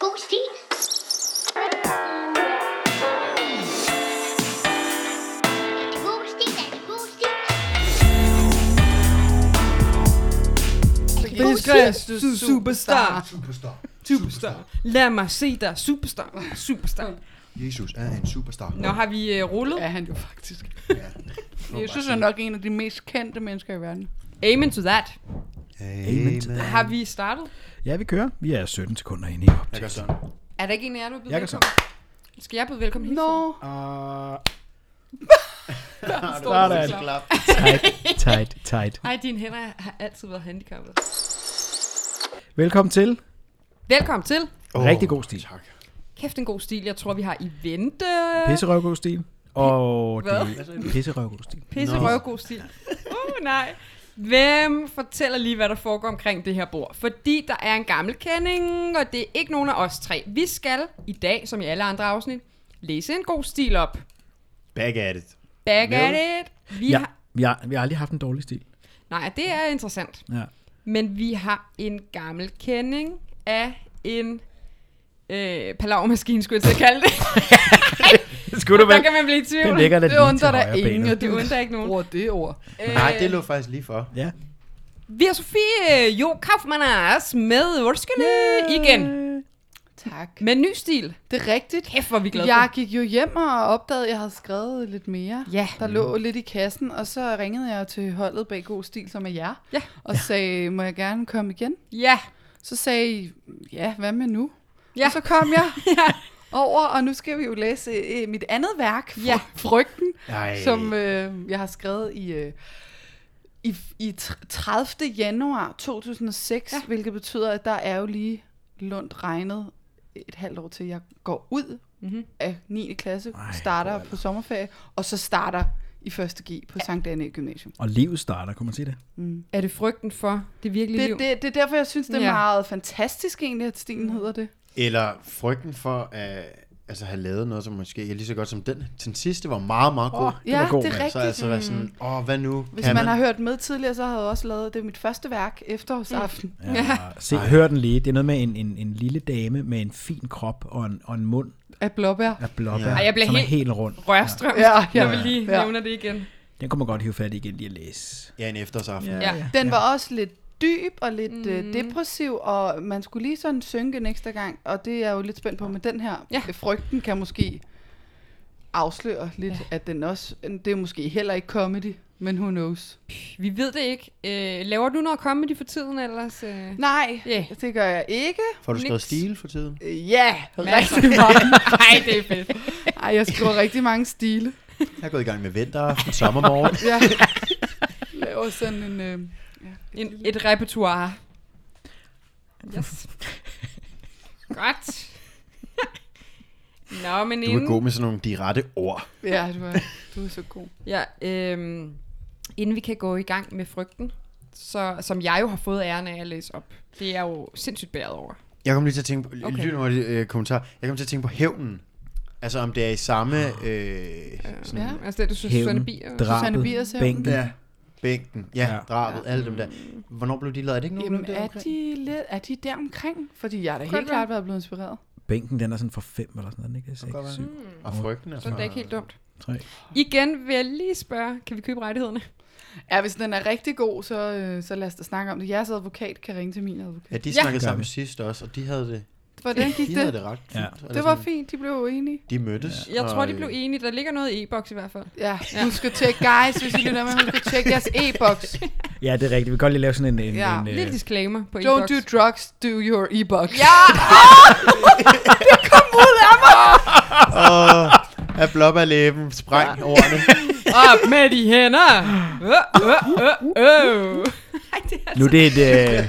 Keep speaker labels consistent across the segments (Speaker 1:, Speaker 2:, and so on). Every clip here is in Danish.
Speaker 1: Boosty. Boosty, Boosty.
Speaker 2: Fisker su-
Speaker 3: Su-
Speaker 2: superstar.
Speaker 3: Superstar.
Speaker 2: Superstar. Lad mig se dig. Superstar. Superstar.
Speaker 3: Jesus er en superstar.
Speaker 2: Nå, har vi øh, rullet?
Speaker 4: er han jo faktisk.
Speaker 3: Ja.
Speaker 4: Jeg synes, han er nok en af de mest kendte mennesker i verden.
Speaker 2: Amen to that.
Speaker 3: Amen.
Speaker 2: Har vi startet?
Speaker 5: Ja, vi kører. Vi er 17 sekunder inde i op.
Speaker 3: Jeg gør sådan.
Speaker 2: Er der ikke en af jer, du er blevet
Speaker 5: Jeg kan
Speaker 2: velkommen? Ah. Skal jeg byde velkommen hele tiden?
Speaker 4: Nå,
Speaker 5: Uh,
Speaker 2: Står
Speaker 5: der
Speaker 2: du
Speaker 5: er
Speaker 2: så
Speaker 5: det.
Speaker 2: klar?
Speaker 5: tight, tight, tight.
Speaker 2: Ej, dine hænder har altid været handicappede.
Speaker 5: Velkommen til.
Speaker 2: Velkommen til.
Speaker 5: Oh, Rigtig god stil.
Speaker 3: Tak.
Speaker 2: Kæft en god stil, jeg tror, vi har i vente.
Speaker 5: Pisserøvgod stil. Og
Speaker 2: Hvad?
Speaker 5: det pisserøvgod stil.
Speaker 2: Pisse røvgod stil. Uh, nej. Hvem fortæller lige, hvad der foregår omkring det her bord? Fordi der er en gammel kending, og det er ikke nogen af os tre. Vi skal i dag, som i alle andre afsnit, læse en god stil op.
Speaker 5: Back at it.
Speaker 2: Back
Speaker 5: Vel.
Speaker 2: at it. Vi
Speaker 5: Ja,
Speaker 2: har...
Speaker 5: vi har, vi har aldrig haft en dårlig stil.
Speaker 2: Nej, det er interessant.
Speaker 5: Ja.
Speaker 2: Men vi har en gammel kending af en øh, palavermaskine, skulle jeg til at kalde det.
Speaker 5: Det skulle du
Speaker 2: Der kan man blive i tvivl.
Speaker 5: Den ligger da
Speaker 4: det
Speaker 5: lige til
Speaker 4: undrer der
Speaker 5: højre
Speaker 4: ingen,
Speaker 5: benet.
Speaker 4: at
Speaker 2: Det
Speaker 4: du
Speaker 2: undrer ikke nogen.
Speaker 4: bruger det ord.
Speaker 3: Nej, det lå faktisk lige for.
Speaker 5: Ja.
Speaker 2: Vi har Sofie Jo Kaufmann Ars med Vorskende igen.
Speaker 4: Tak.
Speaker 2: Med ny stil.
Speaker 4: Det er rigtigt.
Speaker 2: Kæft, hvor er vi glade
Speaker 4: Jeg
Speaker 2: for.
Speaker 4: gik jo hjem og opdagede, at jeg havde skrevet lidt mere.
Speaker 2: Ja.
Speaker 4: Der lå lidt i kassen, og så ringede jeg til holdet bag God Stil, som er jer,
Speaker 2: Ja.
Speaker 4: og sagde, må jeg gerne komme igen?
Speaker 2: Ja.
Speaker 4: Så sagde I, ja, hvad med nu?
Speaker 2: Ja.
Speaker 4: Og så kom jeg
Speaker 2: ja.
Speaker 4: over, og nu skal vi jo læse øh, mit andet værk, Fry-
Speaker 2: Ja.
Speaker 4: Frygten,
Speaker 3: Ej.
Speaker 4: som øh, jeg har skrevet i, øh, i, i tr- 30. januar 2006, ja. hvilket betyder, at der er jo lige lundt regnet et halvt år til, jeg går ud mm-hmm. af 9. klasse, Ej, starter på sommerferie, og så starter i 1. G på Sankt Anne Gymnasium.
Speaker 5: Og livet starter, kunne man sige det?
Speaker 2: Er det frygten for det virkelige
Speaker 4: Det,
Speaker 2: liv?
Speaker 4: det, det er derfor, jeg synes, det er
Speaker 2: Ja.
Speaker 4: ja. Mm. meget fantastisk egentlig, at stilen hedder det.
Speaker 3: Eller frygten for at altså, have lavet noget, som måske er lige så godt som den. Den sidste var meget, meget god.
Speaker 5: Åh,
Speaker 3: Oh,
Speaker 5: Den er
Speaker 4: Ja,
Speaker 5: god,
Speaker 4: det
Speaker 5: mand.
Speaker 4: er
Speaker 3: så altså
Speaker 4: rigtigt.
Speaker 3: være sådan, åh, hvad nu?
Speaker 4: Hvis
Speaker 3: kan
Speaker 4: man har hørt med tidligere, så havde jeg også lavet, det er mit første værk, efterårsaften. Mm.
Speaker 5: Ja. Se, hør den lige. Det er noget med en, en, en lille dame med en fin krop og en, og en mund
Speaker 4: Af blåbær.
Speaker 5: af blåbær,
Speaker 2: Ej, jeg bliver
Speaker 5: som er
Speaker 2: helt-
Speaker 5: helt rund.
Speaker 2: Rørstrøm.
Speaker 4: Ja, ja,
Speaker 2: Jeg vil lige
Speaker 4: ja.
Speaker 2: nævne det igen.
Speaker 5: Den kunne man godt hive fat i igen lige at læse.
Speaker 3: Ja, en efterårsaften.
Speaker 2: Ja.
Speaker 4: Den var også lidt dyb og lidt mm. øh, depressiv, og man skulle lige sådan synke en ekstra gang, og det er jeg jo lidt spændt på med den her.
Speaker 2: Ja.
Speaker 4: Frygten kan måske afsløre lidt, ja. at den også, det er måske heller ikke comedy, men who knows.
Speaker 2: Vi ved det ikke. Øh, laver du noget comedy for tiden ellers? Øh?
Speaker 4: Nej,
Speaker 2: Ja.
Speaker 4: yeah. det gør jeg ikke.
Speaker 3: Får du skrevet
Speaker 2: Niks.
Speaker 3: stil for tiden?
Speaker 4: Øh, Ja,
Speaker 2: Masser.
Speaker 4: rigtig meget.
Speaker 2: Nej, det er fedt.
Speaker 4: Ej, jeg skriver rigtig mange stile.
Speaker 3: Jeg er gået i gang med vinteraften, sommermorgen.
Speaker 4: Jeg laver sådan en... Øh,
Speaker 2: En, et repertoire. Yes. Godt. Nå, men
Speaker 3: Du
Speaker 2: inden...
Speaker 3: er god med sådan nogle direkte ord.
Speaker 4: ja, du er, du er så god.
Speaker 2: Ja, øhm, inden vi kan gå i gang med frygten, så, som jeg jo har fået æren af at læse op. Det er jeg jo sindssygt bæret over.
Speaker 3: Jeg kom lige til at tænke på,
Speaker 2: Okay.
Speaker 3: okay. lyt hurtigt, øh, kommentar. Jeg kom til at tænke på hævnen. Altså om det er i samme øh, sådan,
Speaker 4: Ah. Ja.
Speaker 3: ja.
Speaker 2: Altså det, du synes, Susanne
Speaker 5: Hævn,
Speaker 2: Bier...
Speaker 4: Susanne Biers
Speaker 5: drabet,
Speaker 4: hævn.
Speaker 5: bænken.
Speaker 3: ja. bænken, ja,
Speaker 5: Ja.
Speaker 3: ja. drabet, alle dem der. Hvornår blev de lavet? Er det ikke nogen
Speaker 4: Jamen,
Speaker 3: der
Speaker 4: er de, lidt, er de der omkring? Fordi jeg er da helt
Speaker 2: være.
Speaker 4: klart været blevet inspireret.
Speaker 5: Bænken, den er sådan for 5 eller sådan noget, ikke? 6,
Speaker 3: godt være.
Speaker 5: 7,
Speaker 3: Og frygten er
Speaker 2: Så er Hmm, det da ikke helt dumt.
Speaker 5: 3.
Speaker 2: Igen vil jeg lige spørge, kan vi købe rettighederne?
Speaker 4: Ja, hvis den er rigtig god, så, øh, så lad os da snakke om det. Jeres advokat kan ringe til min advokat.
Speaker 3: Ja, de snakkede
Speaker 5: Gør
Speaker 3: sammen
Speaker 5: vi.
Speaker 3: sidst også, og de havde det,
Speaker 4: Hvordan gik
Speaker 3: de havde
Speaker 4: det?
Speaker 3: det ret
Speaker 5: Ja.
Speaker 3: fint. Eller
Speaker 4: Det var
Speaker 3: sådan,
Speaker 4: fint, de blev jo enige.
Speaker 3: De mødtes.
Speaker 2: Jeg
Speaker 3: og,
Speaker 2: tror, de blev
Speaker 3: øh,
Speaker 2: enige. Der ligger noget i e-boks i hvert fald.
Speaker 4: Ja, husk at tjekke, guys, hvis I lytter med, husk at tjekke jeres e-boks.
Speaker 5: Ja, det er rigtigt. Vi kan godt lige lave sådan en... en,
Speaker 4: Ja,
Speaker 5: en øh,
Speaker 2: Lille disclaimer på e-boks.
Speaker 4: Don't do drugs, do your e-box.
Speaker 2: Ja!
Speaker 3: Åh, af blop af læben, spræng ordene.
Speaker 2: Op med de hænder! Øh, øh, øh, øh. Ej, det er
Speaker 5: nu er det et, øh,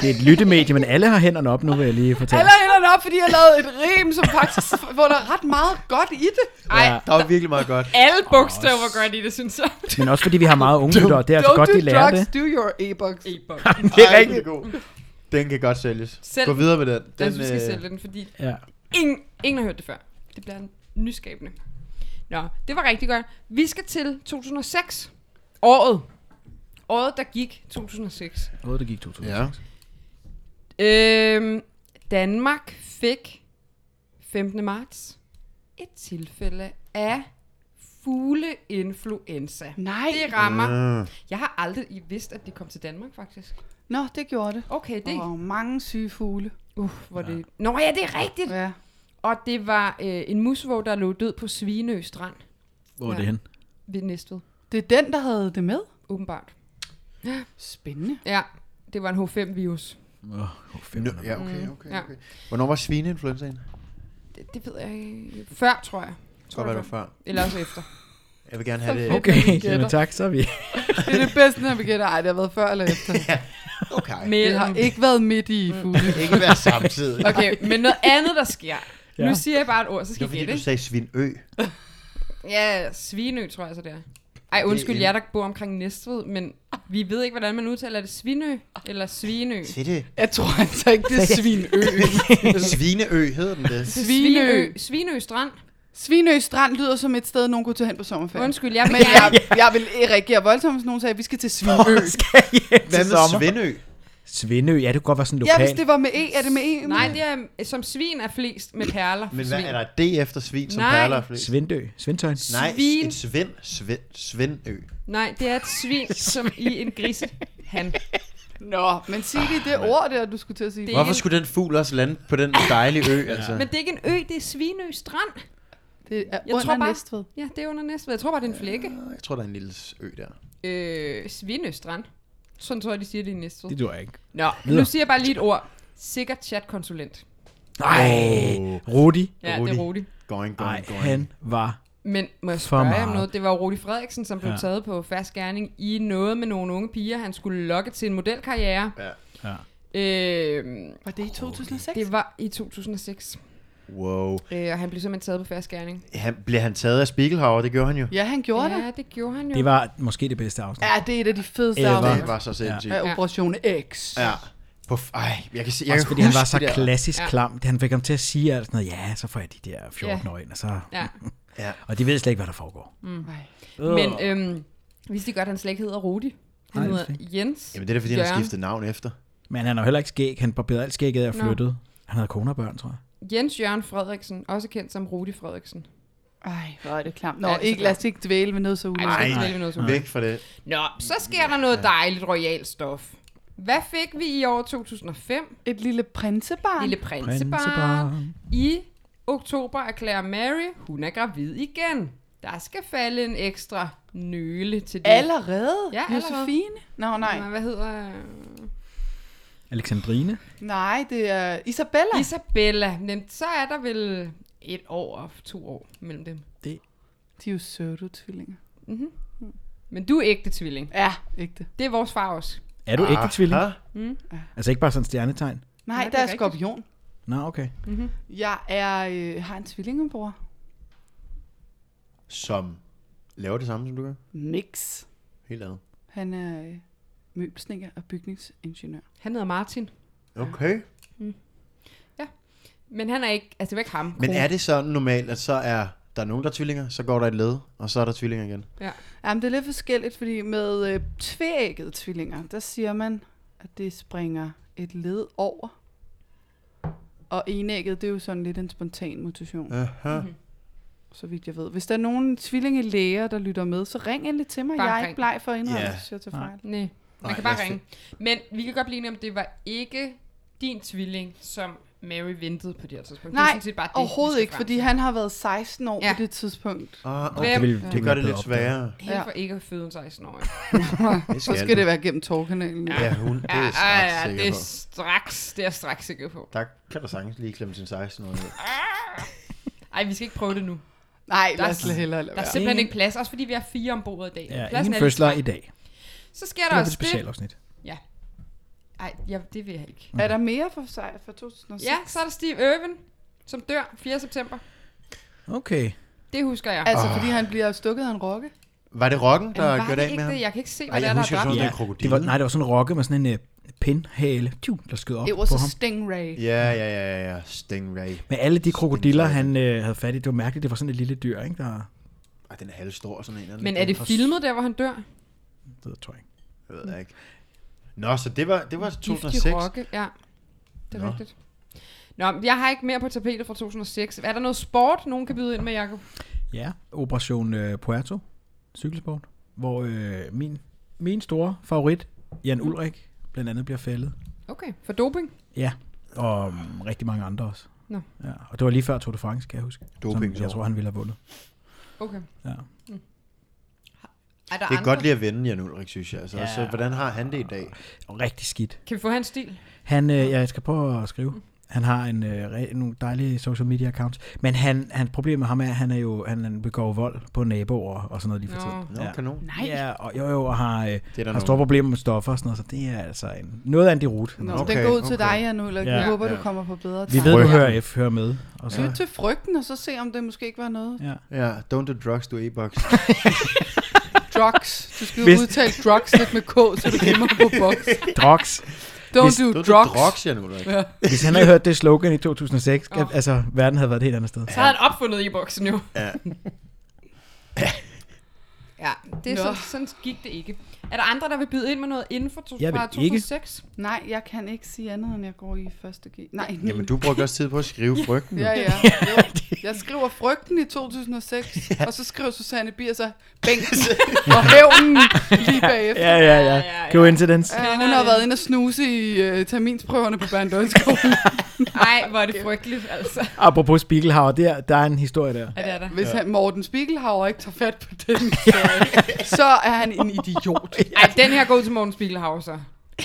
Speaker 5: det er et lyttemedie, men alle har hænderne op nu, vil jeg lige fortælle.
Speaker 4: Eller hænderne op, fordi jeg lavede et rim, som faktisk, hvor der er ret meget godt i det.
Speaker 2: Ej,
Speaker 3: Der var virkelig meget godt.
Speaker 2: alle bogstaver gør de det, synes jeg.
Speaker 5: Men også fordi vi har meget unge lyttere, det er altså
Speaker 4: Don't
Speaker 5: godt,
Speaker 4: do
Speaker 5: de lærer
Speaker 4: drugs,
Speaker 5: det.
Speaker 4: do your e-box.
Speaker 2: E-boks.
Speaker 5: Det er
Speaker 3: Ej,
Speaker 5: rigtigt.
Speaker 3: god. Den kan godt sælges.
Speaker 2: Selv-
Speaker 3: Gå videre med den. den
Speaker 2: Jeg synes, vi skal
Speaker 3: øh,
Speaker 2: sælge den, fordi
Speaker 5: Ja.
Speaker 2: Ingen, ingen har hørt det før. Det bliver nyskabende. Nå, det var rigtig godt. Vi skal til 2006. Året. Året, der gik 2006.
Speaker 5: Noget, der gik 2000.
Speaker 3: Ja.
Speaker 2: Øhm, Danmark fik 15. marts et tilfælde af fugleinfluenza.
Speaker 4: Nej.
Speaker 2: Det rammer.
Speaker 3: Mm.
Speaker 2: Jeg har aldrig i vidst, at det kom til Danmark, faktisk.
Speaker 4: Nå, det gjorde det.
Speaker 2: Okay, det...
Speaker 4: Der var jo mange syge fugle.
Speaker 2: Uh, hvor det... Nå ja, det er rigtigt!
Speaker 4: Ja.
Speaker 2: Og det var øh, en musvog, der lå død på Svinø Strand
Speaker 5: Hvor er
Speaker 2: Ja.
Speaker 5: det hen?
Speaker 2: ved Næstved,
Speaker 4: Det er den, der havde det med.
Speaker 2: åbenbart.
Speaker 4: Spændende.
Speaker 2: Ja, det var en H5-virus.
Speaker 5: Åh, oh,
Speaker 3: Nå, ja, okay, okay,
Speaker 2: Mm, ja.
Speaker 3: okay. Hvornår var svineinfluenzaen?
Speaker 2: Det, det ved jeg ikke. Før, tror jeg.
Speaker 3: Jeg tror, det var før.
Speaker 2: Eller også efter.
Speaker 3: Jeg vil gerne have det.
Speaker 5: okay.
Speaker 4: vi gætter.
Speaker 5: Jamen, tak, så er vi.
Speaker 4: Det er det bedste, når vi gætter. Ej, det har været før eller efter.
Speaker 3: Okay.
Speaker 4: Det har ikke været midt i
Speaker 2: Mm.
Speaker 4: fugle.
Speaker 3: Ikke være samtidig.
Speaker 2: Okay, men noget andet, der sker.
Speaker 5: Ja.
Speaker 2: Ja. Nu siger jeg bare et ord, så
Speaker 3: Det
Speaker 2: skal
Speaker 3: var
Speaker 2: I
Speaker 3: fordi,
Speaker 2: gætte.
Speaker 3: du
Speaker 2: ikke?
Speaker 3: sagde Svinø.
Speaker 2: Ja, Svinø, tror jeg så det er. Ej, undskyld
Speaker 3: Det er-
Speaker 2: jer, der bor omkring Næstved, men vi ved ikke, hvordan man udtaler det. Svinø eller Svinø?
Speaker 3: Til det.
Speaker 4: Jeg tror altså ikke, det er Svinø.
Speaker 3: Svineø hedder den det.
Speaker 4: Svinø.
Speaker 2: Svinø Strand.
Speaker 4: Svinø Strand lyder som et sted, nogen kunne tage hen på sommerferie.
Speaker 2: Undskyld, jeg
Speaker 4: Men
Speaker 2: men
Speaker 4: jeg, jeg vil reagere voldsomt, hvis nogen sagde, at vi skal til Svinø.
Speaker 5: skal hjem
Speaker 3: Hvad
Speaker 5: til
Speaker 3: med
Speaker 5: sommer.
Speaker 3: Svindø?
Speaker 5: Svindø, ja, det kunne godt være sådan
Speaker 4: Ja,
Speaker 5: lokal.
Speaker 4: hvis det var med E, er det med E?
Speaker 2: Nej, det er som svin er flest med perler. for
Speaker 3: Men hvad
Speaker 2: svin.
Speaker 3: er der et D efter svin, som
Speaker 2: Nej.
Speaker 3: perler er flest?
Speaker 5: Svindø. Svindtøjen.
Speaker 3: Nej,
Speaker 2: Svin.
Speaker 3: et Svind. Svind. Svindø.
Speaker 2: Nej, det er et svin, som i en grisehan.
Speaker 4: Nå, men sig lige det ord der, du skulle til at sige.
Speaker 2: Ah, Det-
Speaker 4: Det,
Speaker 3: Hvorfor skulle den fugl også lande på den dejlige ø, altså?
Speaker 2: Men det er ikke en ø, det er Svinø Strand.
Speaker 4: det er
Speaker 2: Jeg
Speaker 4: under
Speaker 2: tror bare-
Speaker 4: Næstved.
Speaker 2: Ja, det er under Næstved. Jeg tror bare, det er en flække.
Speaker 3: Jeg tror, der er en lille ø der.
Speaker 2: Øh, Svinø Strand. Sådan tror jeg, de siger det i Næstved.
Speaker 5: Det tror jeg ikke.
Speaker 2: Nå, nu
Speaker 5: Videre.
Speaker 2: siger jeg bare lige et ord. Sikkert chatkonsulent.
Speaker 5: Nej.
Speaker 3: Åh.
Speaker 5: Rudi.
Speaker 2: Ja,
Speaker 3: Rudi.
Speaker 2: det er roligt.
Speaker 3: Going,
Speaker 5: Nej,
Speaker 3: going, going.
Speaker 5: han var...
Speaker 2: Men må jeg
Speaker 5: For
Speaker 2: spørge jer om
Speaker 5: meget.
Speaker 2: noget? Det var jo Rudi Frederiksen, som blev
Speaker 5: Ja.
Speaker 2: ja. taget på fast gerning i noget med nogle unge piger. Han skulle lokke til en modelkarriere.
Speaker 3: Ja.
Speaker 5: Ja.
Speaker 2: Øh,
Speaker 4: Var det i 2006?
Speaker 2: det var i 2006,
Speaker 3: Wow.
Speaker 2: øh, og han blev simpelthen taget på fast gerning.
Speaker 3: Han, blev han taget af Spiegelhauer? Det gjorde han jo.
Speaker 4: Ja, han gjorde det.
Speaker 2: Ja, det gjorde han jo.
Speaker 5: Det var måske det bedste afsnit.
Speaker 4: Ja, det er et af de fedeste
Speaker 5: Ever.
Speaker 4: afsnit
Speaker 3: Det var så sindssygt.
Speaker 4: af
Speaker 3: Ja.
Speaker 2: Ja.
Speaker 4: Operation X.
Speaker 3: ja. På, f- ej, jeg kan se, jeg
Speaker 5: Også
Speaker 3: kan
Speaker 5: fordi han
Speaker 3: huske
Speaker 5: var så
Speaker 3: det der.
Speaker 5: klassisk
Speaker 2: Ja.
Speaker 5: klam. Han fik ham til at sige alt sådan noget, ja, så får jeg de der 14 år ind, og så...
Speaker 2: Ja.
Speaker 3: Ja.
Speaker 5: Og de ved slet ikke, hvad der foregår.
Speaker 4: Ej.
Speaker 2: Men øhm, vidste de godt, at han slet ikke hedder Rudi? Han
Speaker 5: Nej, det
Speaker 2: hedder Jens.
Speaker 3: Jamen det er da, fordi Jørgen. han
Speaker 2: Jørgen.
Speaker 3: skiftede navn efter.
Speaker 5: Men han har heller ikke skæg. Han barberede alt skægget af og
Speaker 2: Nå.
Speaker 5: flyttede. Han havde kone og børn, tror jeg.
Speaker 2: Jens Jørgen Frederiksen, også kendt som Rudi Frederiksen.
Speaker 4: Ej, hvor er det klamt. Nå,
Speaker 2: Ja, det er så
Speaker 4: ikke, lad os ikke dvæle ved noget så
Speaker 2: Ej,
Speaker 4: ulækkert.
Speaker 2: Ej,
Speaker 3: nej.
Speaker 2: nej. Noget, som-
Speaker 3: Væk fra det.
Speaker 2: Nå, så sker der noget dejligt royalt stof. Hvad fik vi i år 2005?
Speaker 4: Et lille prinsebarn.
Speaker 2: Lille prinsebarn. I oktober erklærer Mary, hun er gravid igen. Der skal falde en ekstra nøle til det.
Speaker 4: Allerede?
Speaker 2: Ja, allerede.
Speaker 4: Josefine? Nå,
Speaker 2: Nej.
Speaker 4: nej.
Speaker 2: Hvad hedder...
Speaker 5: Alexandrine.
Speaker 4: Nej, det er Isabella.
Speaker 2: Isabella. Men så er der vel et år og to år mellem dem.
Speaker 4: De er jo pseudotvillinger.
Speaker 2: Men du er ægte tvilling.
Speaker 4: Ja, ægte.
Speaker 2: Det er vores far også.
Speaker 5: Er du ægte tvilling?
Speaker 3: Aha.
Speaker 5: Altså ikke bare sådan en stjernetegn?
Speaker 4: Nej,
Speaker 2: det er
Speaker 4: der er
Speaker 2: rigtigt.
Speaker 4: skorpion.
Speaker 5: Nå, okay.
Speaker 4: Jeg er, øh, har en tvillingebror.
Speaker 3: Som laver det samme, som du gør.
Speaker 4: Nix.
Speaker 3: Helt andet.
Speaker 4: Han er øh, møbelsnikker og bygningsingeniør.
Speaker 2: Han hedder Martin.
Speaker 3: Okay.
Speaker 2: Men han er ikke... Altså, det var ikke ham.
Speaker 3: Men
Speaker 2: Kron.
Speaker 3: er det sådan normalt, at så er der nogen, der er tvillinger, så går der et led, og så er der tvillinger igen?
Speaker 2: Ja.
Speaker 4: Jamen, det er lidt forskelligt, fordi med øh, tvægede tvillinger, der siger man, at det springer et led over. Og enægget, det er jo sådan lidt en spontan mutation, ja.
Speaker 3: Aha.
Speaker 4: så vidt jeg ved. Hvis der er nogen tvillingelæger, der lytter med, så ring endelig til mig.
Speaker 2: Bare
Speaker 4: jeg er
Speaker 2: ring.
Speaker 4: ikke bleg for indhold,
Speaker 3: Ja.
Speaker 4: yeah. jeg tager fejl.
Speaker 2: Nej, man
Speaker 3: Nej,
Speaker 2: Nej, kan bare
Speaker 3: jeg
Speaker 2: ringe. Men vi kan godt blive enige om, det var ikke din tvilling, som Mary ventede på det her tidspunkt. det er
Speaker 4: Nej,
Speaker 2: sådan set bare det, vi
Speaker 4: overhovedet
Speaker 2: skal
Speaker 4: ikke,
Speaker 2: frem
Speaker 4: fordi
Speaker 2: til.
Speaker 4: han har været 16 år ja.
Speaker 2: Ja.
Speaker 4: på det tidspunkt.
Speaker 3: Ah,
Speaker 5: Det,
Speaker 3: okay.
Speaker 2: Hvem-
Speaker 5: ville,
Speaker 3: Det gør det
Speaker 5: ville
Speaker 3: lidt
Speaker 5: jeg bedre opdage.
Speaker 3: sværere.
Speaker 2: Helt
Speaker 4: Ja.
Speaker 2: for ikke at føde en 16-årig.
Speaker 4: Så skal det være gennem tårkanalen.
Speaker 3: Ja, hun det er
Speaker 2: Ja,
Speaker 3: ret
Speaker 2: ja,
Speaker 3: sikker
Speaker 2: det er
Speaker 3: på.
Speaker 2: straks, det er jeg straks sikker på.
Speaker 3: Der kan der sagtens lige klemme sin 16 år.
Speaker 2: Ej, vi skal ikke prøve det nu.
Speaker 4: Nej,
Speaker 2: Der
Speaker 4: lad
Speaker 2: er
Speaker 4: os lade hellere lade
Speaker 2: Der er
Speaker 4: være.
Speaker 2: simpelthen
Speaker 5: Ingen-
Speaker 2: ikke plads, også fordi vi har fire ombord i dag.
Speaker 5: Ja,
Speaker 2: Pladsen
Speaker 5: ingen
Speaker 2: er lidt
Speaker 5: fødsler
Speaker 2: trang.
Speaker 5: i dag.
Speaker 2: Så sker
Speaker 5: Det
Speaker 2: der
Speaker 5: var et
Speaker 2: også det.
Speaker 5: specialafsnit.
Speaker 2: Ja. Ej, ja, det vil jeg ikke.
Speaker 4: Er der mere for sig for 2006?
Speaker 2: Ja, så er der Steve Irwin, som dør 4. september.
Speaker 5: Okay.
Speaker 2: Det husker jeg.
Speaker 4: Altså, fordi han bliver stukket af en rokke?
Speaker 3: Var det rocken, der
Speaker 2: Jamen, var
Speaker 3: gjorde det
Speaker 2: det
Speaker 3: af
Speaker 2: ikke
Speaker 3: med ham?
Speaker 2: det? Jeg kan ikke se,
Speaker 3: Ej,
Speaker 2: hvad det
Speaker 3: jeg
Speaker 2: er, der
Speaker 3: husker,
Speaker 2: er
Speaker 3: jeg
Speaker 2: dræbt.
Speaker 3: så
Speaker 5: Ja,
Speaker 3: er en krokodille.
Speaker 5: det var, nej, det var sådan en rokke med sådan en øh, pinhale, tju, der skød op
Speaker 4: Det var
Speaker 5: på
Speaker 4: så
Speaker 5: ham.
Speaker 4: Stingray.
Speaker 3: Ja, ja, ja, ja, ja. Stingray.
Speaker 5: Men alle de krokodiller, han øh, havde fat i, det var mærkeligt, det var sådan et lille dyr, ikke? Der,
Speaker 3: Ej, den er halvstor, sådan en. den
Speaker 2: Men
Speaker 3: ikke?
Speaker 2: er det filmet der, hvor han dør?
Speaker 5: det ved jeg, tror jeg ikke.
Speaker 3: Jeg ved jeg ikke. Nå, så det var, det var
Speaker 2: Giftig
Speaker 3: 2006.
Speaker 2: rokke, ja. Det er
Speaker 3: Nå.
Speaker 2: rigtigt. Nå, men jeg har ikke mere på tapetet fra 2006. Er der noget sport, nogen kan byde ind med, Jacob?
Speaker 5: Ja, Operation øh, Puerto, cykelsport, hvor øh, min, min store favorit, Jan Ulrik, blandt andet bliver fældet.
Speaker 2: Okay, for doping?
Speaker 5: Ja, og mm, rigtig mange andre også.
Speaker 2: Nå.
Speaker 5: Ja, og det var lige før Tour de France, kan jeg huske.
Speaker 3: Doping,
Speaker 5: som jeg
Speaker 3: så.
Speaker 5: tror, han ville have vundet.
Speaker 2: Okay.
Speaker 5: Ja.
Speaker 2: Er der
Speaker 3: Det er
Speaker 2: andre?
Speaker 3: godt lige at vende Jan Ulrik, synes jeg. Altså,
Speaker 5: Ja.
Speaker 3: ja. så, hvordan har han det i dag?
Speaker 5: Og rigtig skidt.
Speaker 2: Kan vi få hans stil?
Speaker 5: Han, øh, ja, jeg skal prøve at skrive. Han har en, øh, re- nogle dejlige social media accounts. Men han, han, problemet med ham er, at han, er jo, han han begår vold på naboer og sådan noget lige for
Speaker 2: Nå.
Speaker 5: tiden.
Speaker 3: Nå, ja. kanon.
Speaker 4: Nej.
Speaker 5: Ja, og, jo, jo, og har, øh,
Speaker 3: Det er der
Speaker 5: har
Speaker 3: nogen.
Speaker 5: store problemer med stoffer og sådan noget, så det er altså en, noget af en deroute.
Speaker 4: Nå,
Speaker 3: Okay,
Speaker 4: okay, den går ud til
Speaker 3: okay.
Speaker 4: dig, Jan Ulrik.
Speaker 5: Ja.
Speaker 4: Jeg håber,
Speaker 3: Ja.
Speaker 4: du kommer på bedre
Speaker 5: Vi ved, du
Speaker 3: Frygt.
Speaker 5: hører F, hører med. Og så,
Speaker 4: Lyt til frygten, og så se, om det måske ikke var noget.
Speaker 5: ja.
Speaker 3: Ja, don't do drugs, do e-box.
Speaker 4: Drugs. Du skal Hvis...
Speaker 5: Hvis-
Speaker 4: udtale drugs lidt med K, så du kommer på boks.
Speaker 5: Drugs.
Speaker 4: Don't
Speaker 5: Hvis-
Speaker 4: do
Speaker 3: Don't do
Speaker 4: drugs.
Speaker 3: drugs, Jan Ulrik.
Speaker 4: Ja.
Speaker 5: Hvis han havde hørt det slogan i 2006, oh.
Speaker 2: Åh.
Speaker 5: altså verden havde været et helt andet sted.
Speaker 2: Så havde han opfundet i boksen jo.
Speaker 3: Ja.
Speaker 2: ja, det er
Speaker 4: Nå.
Speaker 2: sådan, sådan gik det ikke. Er der andre, der vil byde ind med noget inden for to,
Speaker 5: Jeg vil
Speaker 2: fra
Speaker 5: ikke.
Speaker 2: 2006? Ikke.
Speaker 4: Nej, jeg kan ikke sige andet, end jeg går i første G. Nej,
Speaker 3: Jamen, du brugte også tid på at skrive frygten.
Speaker 4: Ja, ja. Jo. Jeg skriver frygten i 2006, ja. og så skriver Susanne Bier så Bengtsen og hævnen lige bagefter.
Speaker 5: Ja, ja, ja.
Speaker 2: ja, ja.
Speaker 5: Coincidence.
Speaker 4: Ja, hun har været inde og snuse i øh, terminsprøverne på Berndøjskolen.
Speaker 2: Nej, hvor er det frygteligt, altså.
Speaker 5: Apropos Spiegelhauer, der, der er en historie der.
Speaker 2: Ja, det er der.
Speaker 4: Hvis han, Morten Spiegelhauer ikke tager fat på den, historie, så er han en idiot.
Speaker 2: Ej, den her går ud til Morten Spiegelhauser.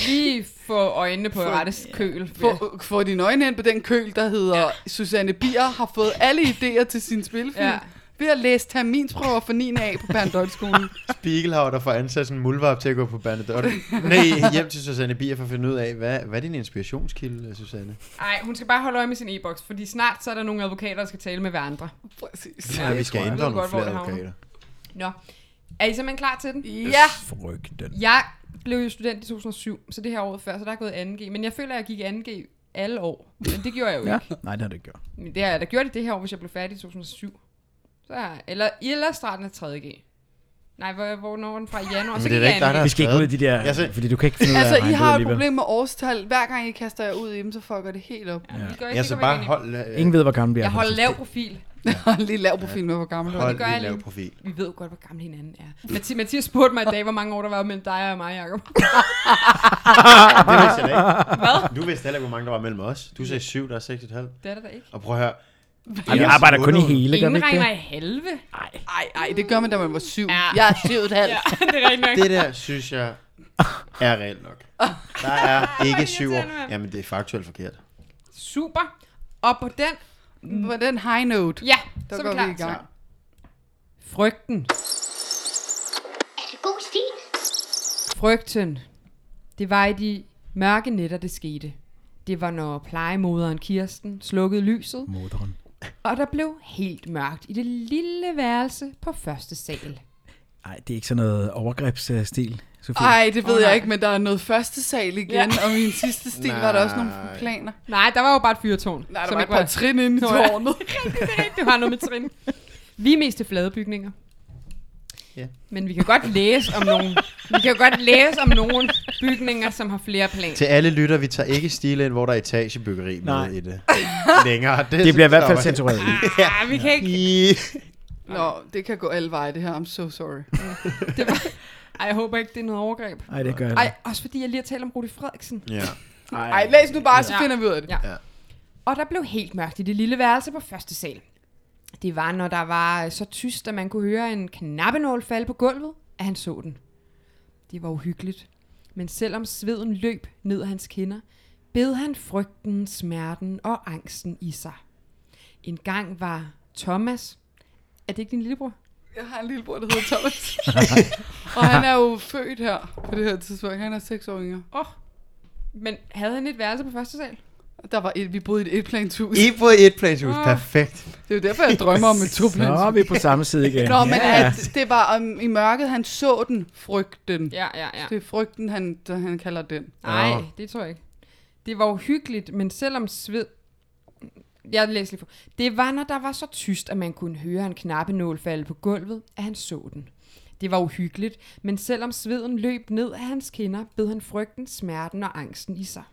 Speaker 2: Lige få øjnene på
Speaker 4: Få-
Speaker 2: rette køl. Få.
Speaker 4: Få, få dine øjne ind på den køl, der hedder ja. Susanne Bier har fået alle idéer til sin spilfilm.
Speaker 2: Ja.
Speaker 4: Ja. Ved at læse terminsprøver for 9. A på Berndøjskolen.
Speaker 3: Spiegelhauer, der får ansat sådan en muldvarp til at gå på Bernadotte. Nej, hjem til Susanne Bier for at finde ud af, hvad, hvad er din inspirationskilde, Susanne?
Speaker 2: Ej, hun skal bare holde øje med sin e-boks, fordi snart så er der nogle advokater, der skal tale med hverandre.
Speaker 4: Præcis.
Speaker 3: Ja, vi skal
Speaker 2: tror jeg.
Speaker 3: ændre
Speaker 2: Jeg ved
Speaker 3: nogle
Speaker 2: godt, hvor
Speaker 3: flere
Speaker 2: det havner.
Speaker 3: advokater.
Speaker 2: Nå. Er I simpelthen klar til den?
Speaker 4: Ja.
Speaker 5: Frygten.
Speaker 2: Jeg blev jo student i 2007, så det her året før, så der er gået 2G. Men jeg føler, at jeg gik i 2G alle år. Men det gjorde jeg jo
Speaker 5: Ja.
Speaker 2: ikke.
Speaker 5: Nej, det har det ikke gjort.
Speaker 2: Men det har jeg da gjort i det her år, hvis jeg blev færdig i 2007. Så er, eller, eller starten af 3G. Nej, hvor, hvornår var den fra? I januar?
Speaker 3: Men
Speaker 2: så
Speaker 3: det er
Speaker 2: gik
Speaker 3: da ikke
Speaker 2: jeg
Speaker 3: dig, der
Speaker 5: Vi
Speaker 3: har
Speaker 5: skal ikke ud i
Speaker 3: skrevet.
Speaker 5: de der,
Speaker 3: Jeg ser-
Speaker 5: fordi du kan ikke finde ud af at
Speaker 4: Altså, I
Speaker 5: regne det ud
Speaker 4: har et
Speaker 5: alligevel.
Speaker 4: problem med årstal. Hver gang I kaster jer ud i dem, så fucker det helt op.
Speaker 2: Ja, det gør jeg,
Speaker 3: Ja,
Speaker 2: det
Speaker 3: så
Speaker 2: går
Speaker 3: bare
Speaker 2: ikke.
Speaker 3: hold, øh,
Speaker 5: Ingen ved, hvor gammel vi er.
Speaker 2: Jeg holder
Speaker 5: faktisk.
Speaker 2: lav profil.
Speaker 4: Ja. Lige lav profil med, hvor gammel du er.
Speaker 3: hold
Speaker 2: det gør jeg
Speaker 3: lidt lav
Speaker 2: lige.
Speaker 3: profil.
Speaker 2: Vi ved jo godt, hvor gammel hinanden er. Mathi- Mathias spurgte mig i dag, hvor mange år der var mellem dig og mig, Jacob.
Speaker 3: Det vidste jeg da ikke.
Speaker 2: Hvad?
Speaker 3: Du vidste heller ikke, hvor mange der var mellem os. Du sagde syv, der er seks og et halvt.
Speaker 2: Det er der da ikke.
Speaker 3: Og prøv at høre.
Speaker 5: Ej, vi arbejder kun i hele, gør
Speaker 2: Ingen
Speaker 5: vi ikke det?
Speaker 2: regner i halve.
Speaker 4: Ej, ej, det gør man, da man var syv.
Speaker 2: Ja.
Speaker 4: Ja. Jeg er syv og et halvt.
Speaker 2: Ja,
Speaker 4: Ja.
Speaker 2: det er rigtigt nok.
Speaker 3: Det der, synes jeg, er reelt nok. Der er ikke syv år. Jamen, det er faktuelt forkert.
Speaker 2: Super. Og på den,
Speaker 4: På den high note,
Speaker 2: ja,
Speaker 4: der
Speaker 2: så er
Speaker 4: går
Speaker 2: vi klar.
Speaker 4: vi i gang.
Speaker 2: Frygten.
Speaker 1: Er det god stil?
Speaker 2: Frygten. Det var i de mørke nætter, det skete. Det var, når plejemoderen Kirsten slukkede lyset,
Speaker 5: Moderen.
Speaker 2: og der blev helt mørkt i det lille værelse på første sal.
Speaker 5: Nej, det er ikke sådan noget overgrebsstil, Sofie.
Speaker 4: Ej, det ved
Speaker 2: Åh,
Speaker 4: oh,
Speaker 2: nej.
Speaker 4: jeg ikke, men der er noget første sal igen,
Speaker 2: Ja.
Speaker 4: ja. og min sidste stil var der også nogle
Speaker 3: Nej.
Speaker 4: planer.
Speaker 2: Nej, der var jo bare et fyrtårn.
Speaker 4: Nej, der
Speaker 2: som
Speaker 4: var et
Speaker 2: ikke
Speaker 4: par trin inde i
Speaker 2: Nå, ja.
Speaker 4: tårnet.
Speaker 2: Det har noget med trin. Vi er mest til flade bygninger.
Speaker 3: Ja.
Speaker 2: Men vi kan godt læse om nogle, vi kan jo godt læse om nogle bygninger, som har flere plan.
Speaker 3: Til alle lytter, vi tager ikke stil ind, hvor der er etagebyggeri med
Speaker 5: Nej.
Speaker 3: i det længere.
Speaker 5: Det bliver i hvert fald
Speaker 3: stopper
Speaker 5: censureret. ud.
Speaker 2: Ah, vi kan ikke.
Speaker 3: jeg.
Speaker 4: Nå, det kan gå alle veje, det her. I'm so sorry.
Speaker 2: Det var, ej, jeg håber ikke, det er noget overgreb.
Speaker 5: Nej, det gør jeg
Speaker 2: Ej,
Speaker 5: ikke.
Speaker 2: også fordi jeg lige har talt om Rudi Frederiksen.
Speaker 3: Ja.
Speaker 4: Ej, læs nu bare, så
Speaker 2: Ja.
Speaker 4: finder vi ud af det.
Speaker 2: Ja.
Speaker 4: Ja.
Speaker 2: Og der blev helt mørkt i det lille værelse på første sal. Det var, når der var øh, så tyst, at man kunne høre en knappenål falde på gulvet, at han så den. Det var uhyggeligt. Men selvom sveden løb ned af hans kinder, bed han frygten, smerten og angsten i sig. En gang var Thomas... Er det ikke din lillebror?
Speaker 4: Jeg har en lillebror, der hedder Thomas. og han er jo født her på det her tidspunkt. Han er seks år yngre.
Speaker 2: Åh, oh, men havde han et værelse på første sal?
Speaker 4: Der var et, vi boede i et etplanshus.
Speaker 3: I på et planshus,
Speaker 2: Åh.
Speaker 3: perfekt.
Speaker 4: Det er jo derfor, jeg drømmer om et
Speaker 5: Nå,
Speaker 4: toplanshus.
Speaker 5: vi er på samme side igen.
Speaker 4: Nå, men at det var um, i mørket, han så den, frygten. Ja.
Speaker 2: Ja, ja, ja.
Speaker 4: Det er frygten, han, der, han kalder den.
Speaker 2: Nej,
Speaker 3: Åh.
Speaker 2: det tror jeg ikke. Det var uhyggeligt, men selvom sved... Jeg læser lige for. Det var, når der var så tyst, at man kunne høre en knappenål falde på gulvet, at han så den. Det var uhyggeligt, men selvom sveden løb ned af hans kinder, bed han frygten, smerten og angsten i sig.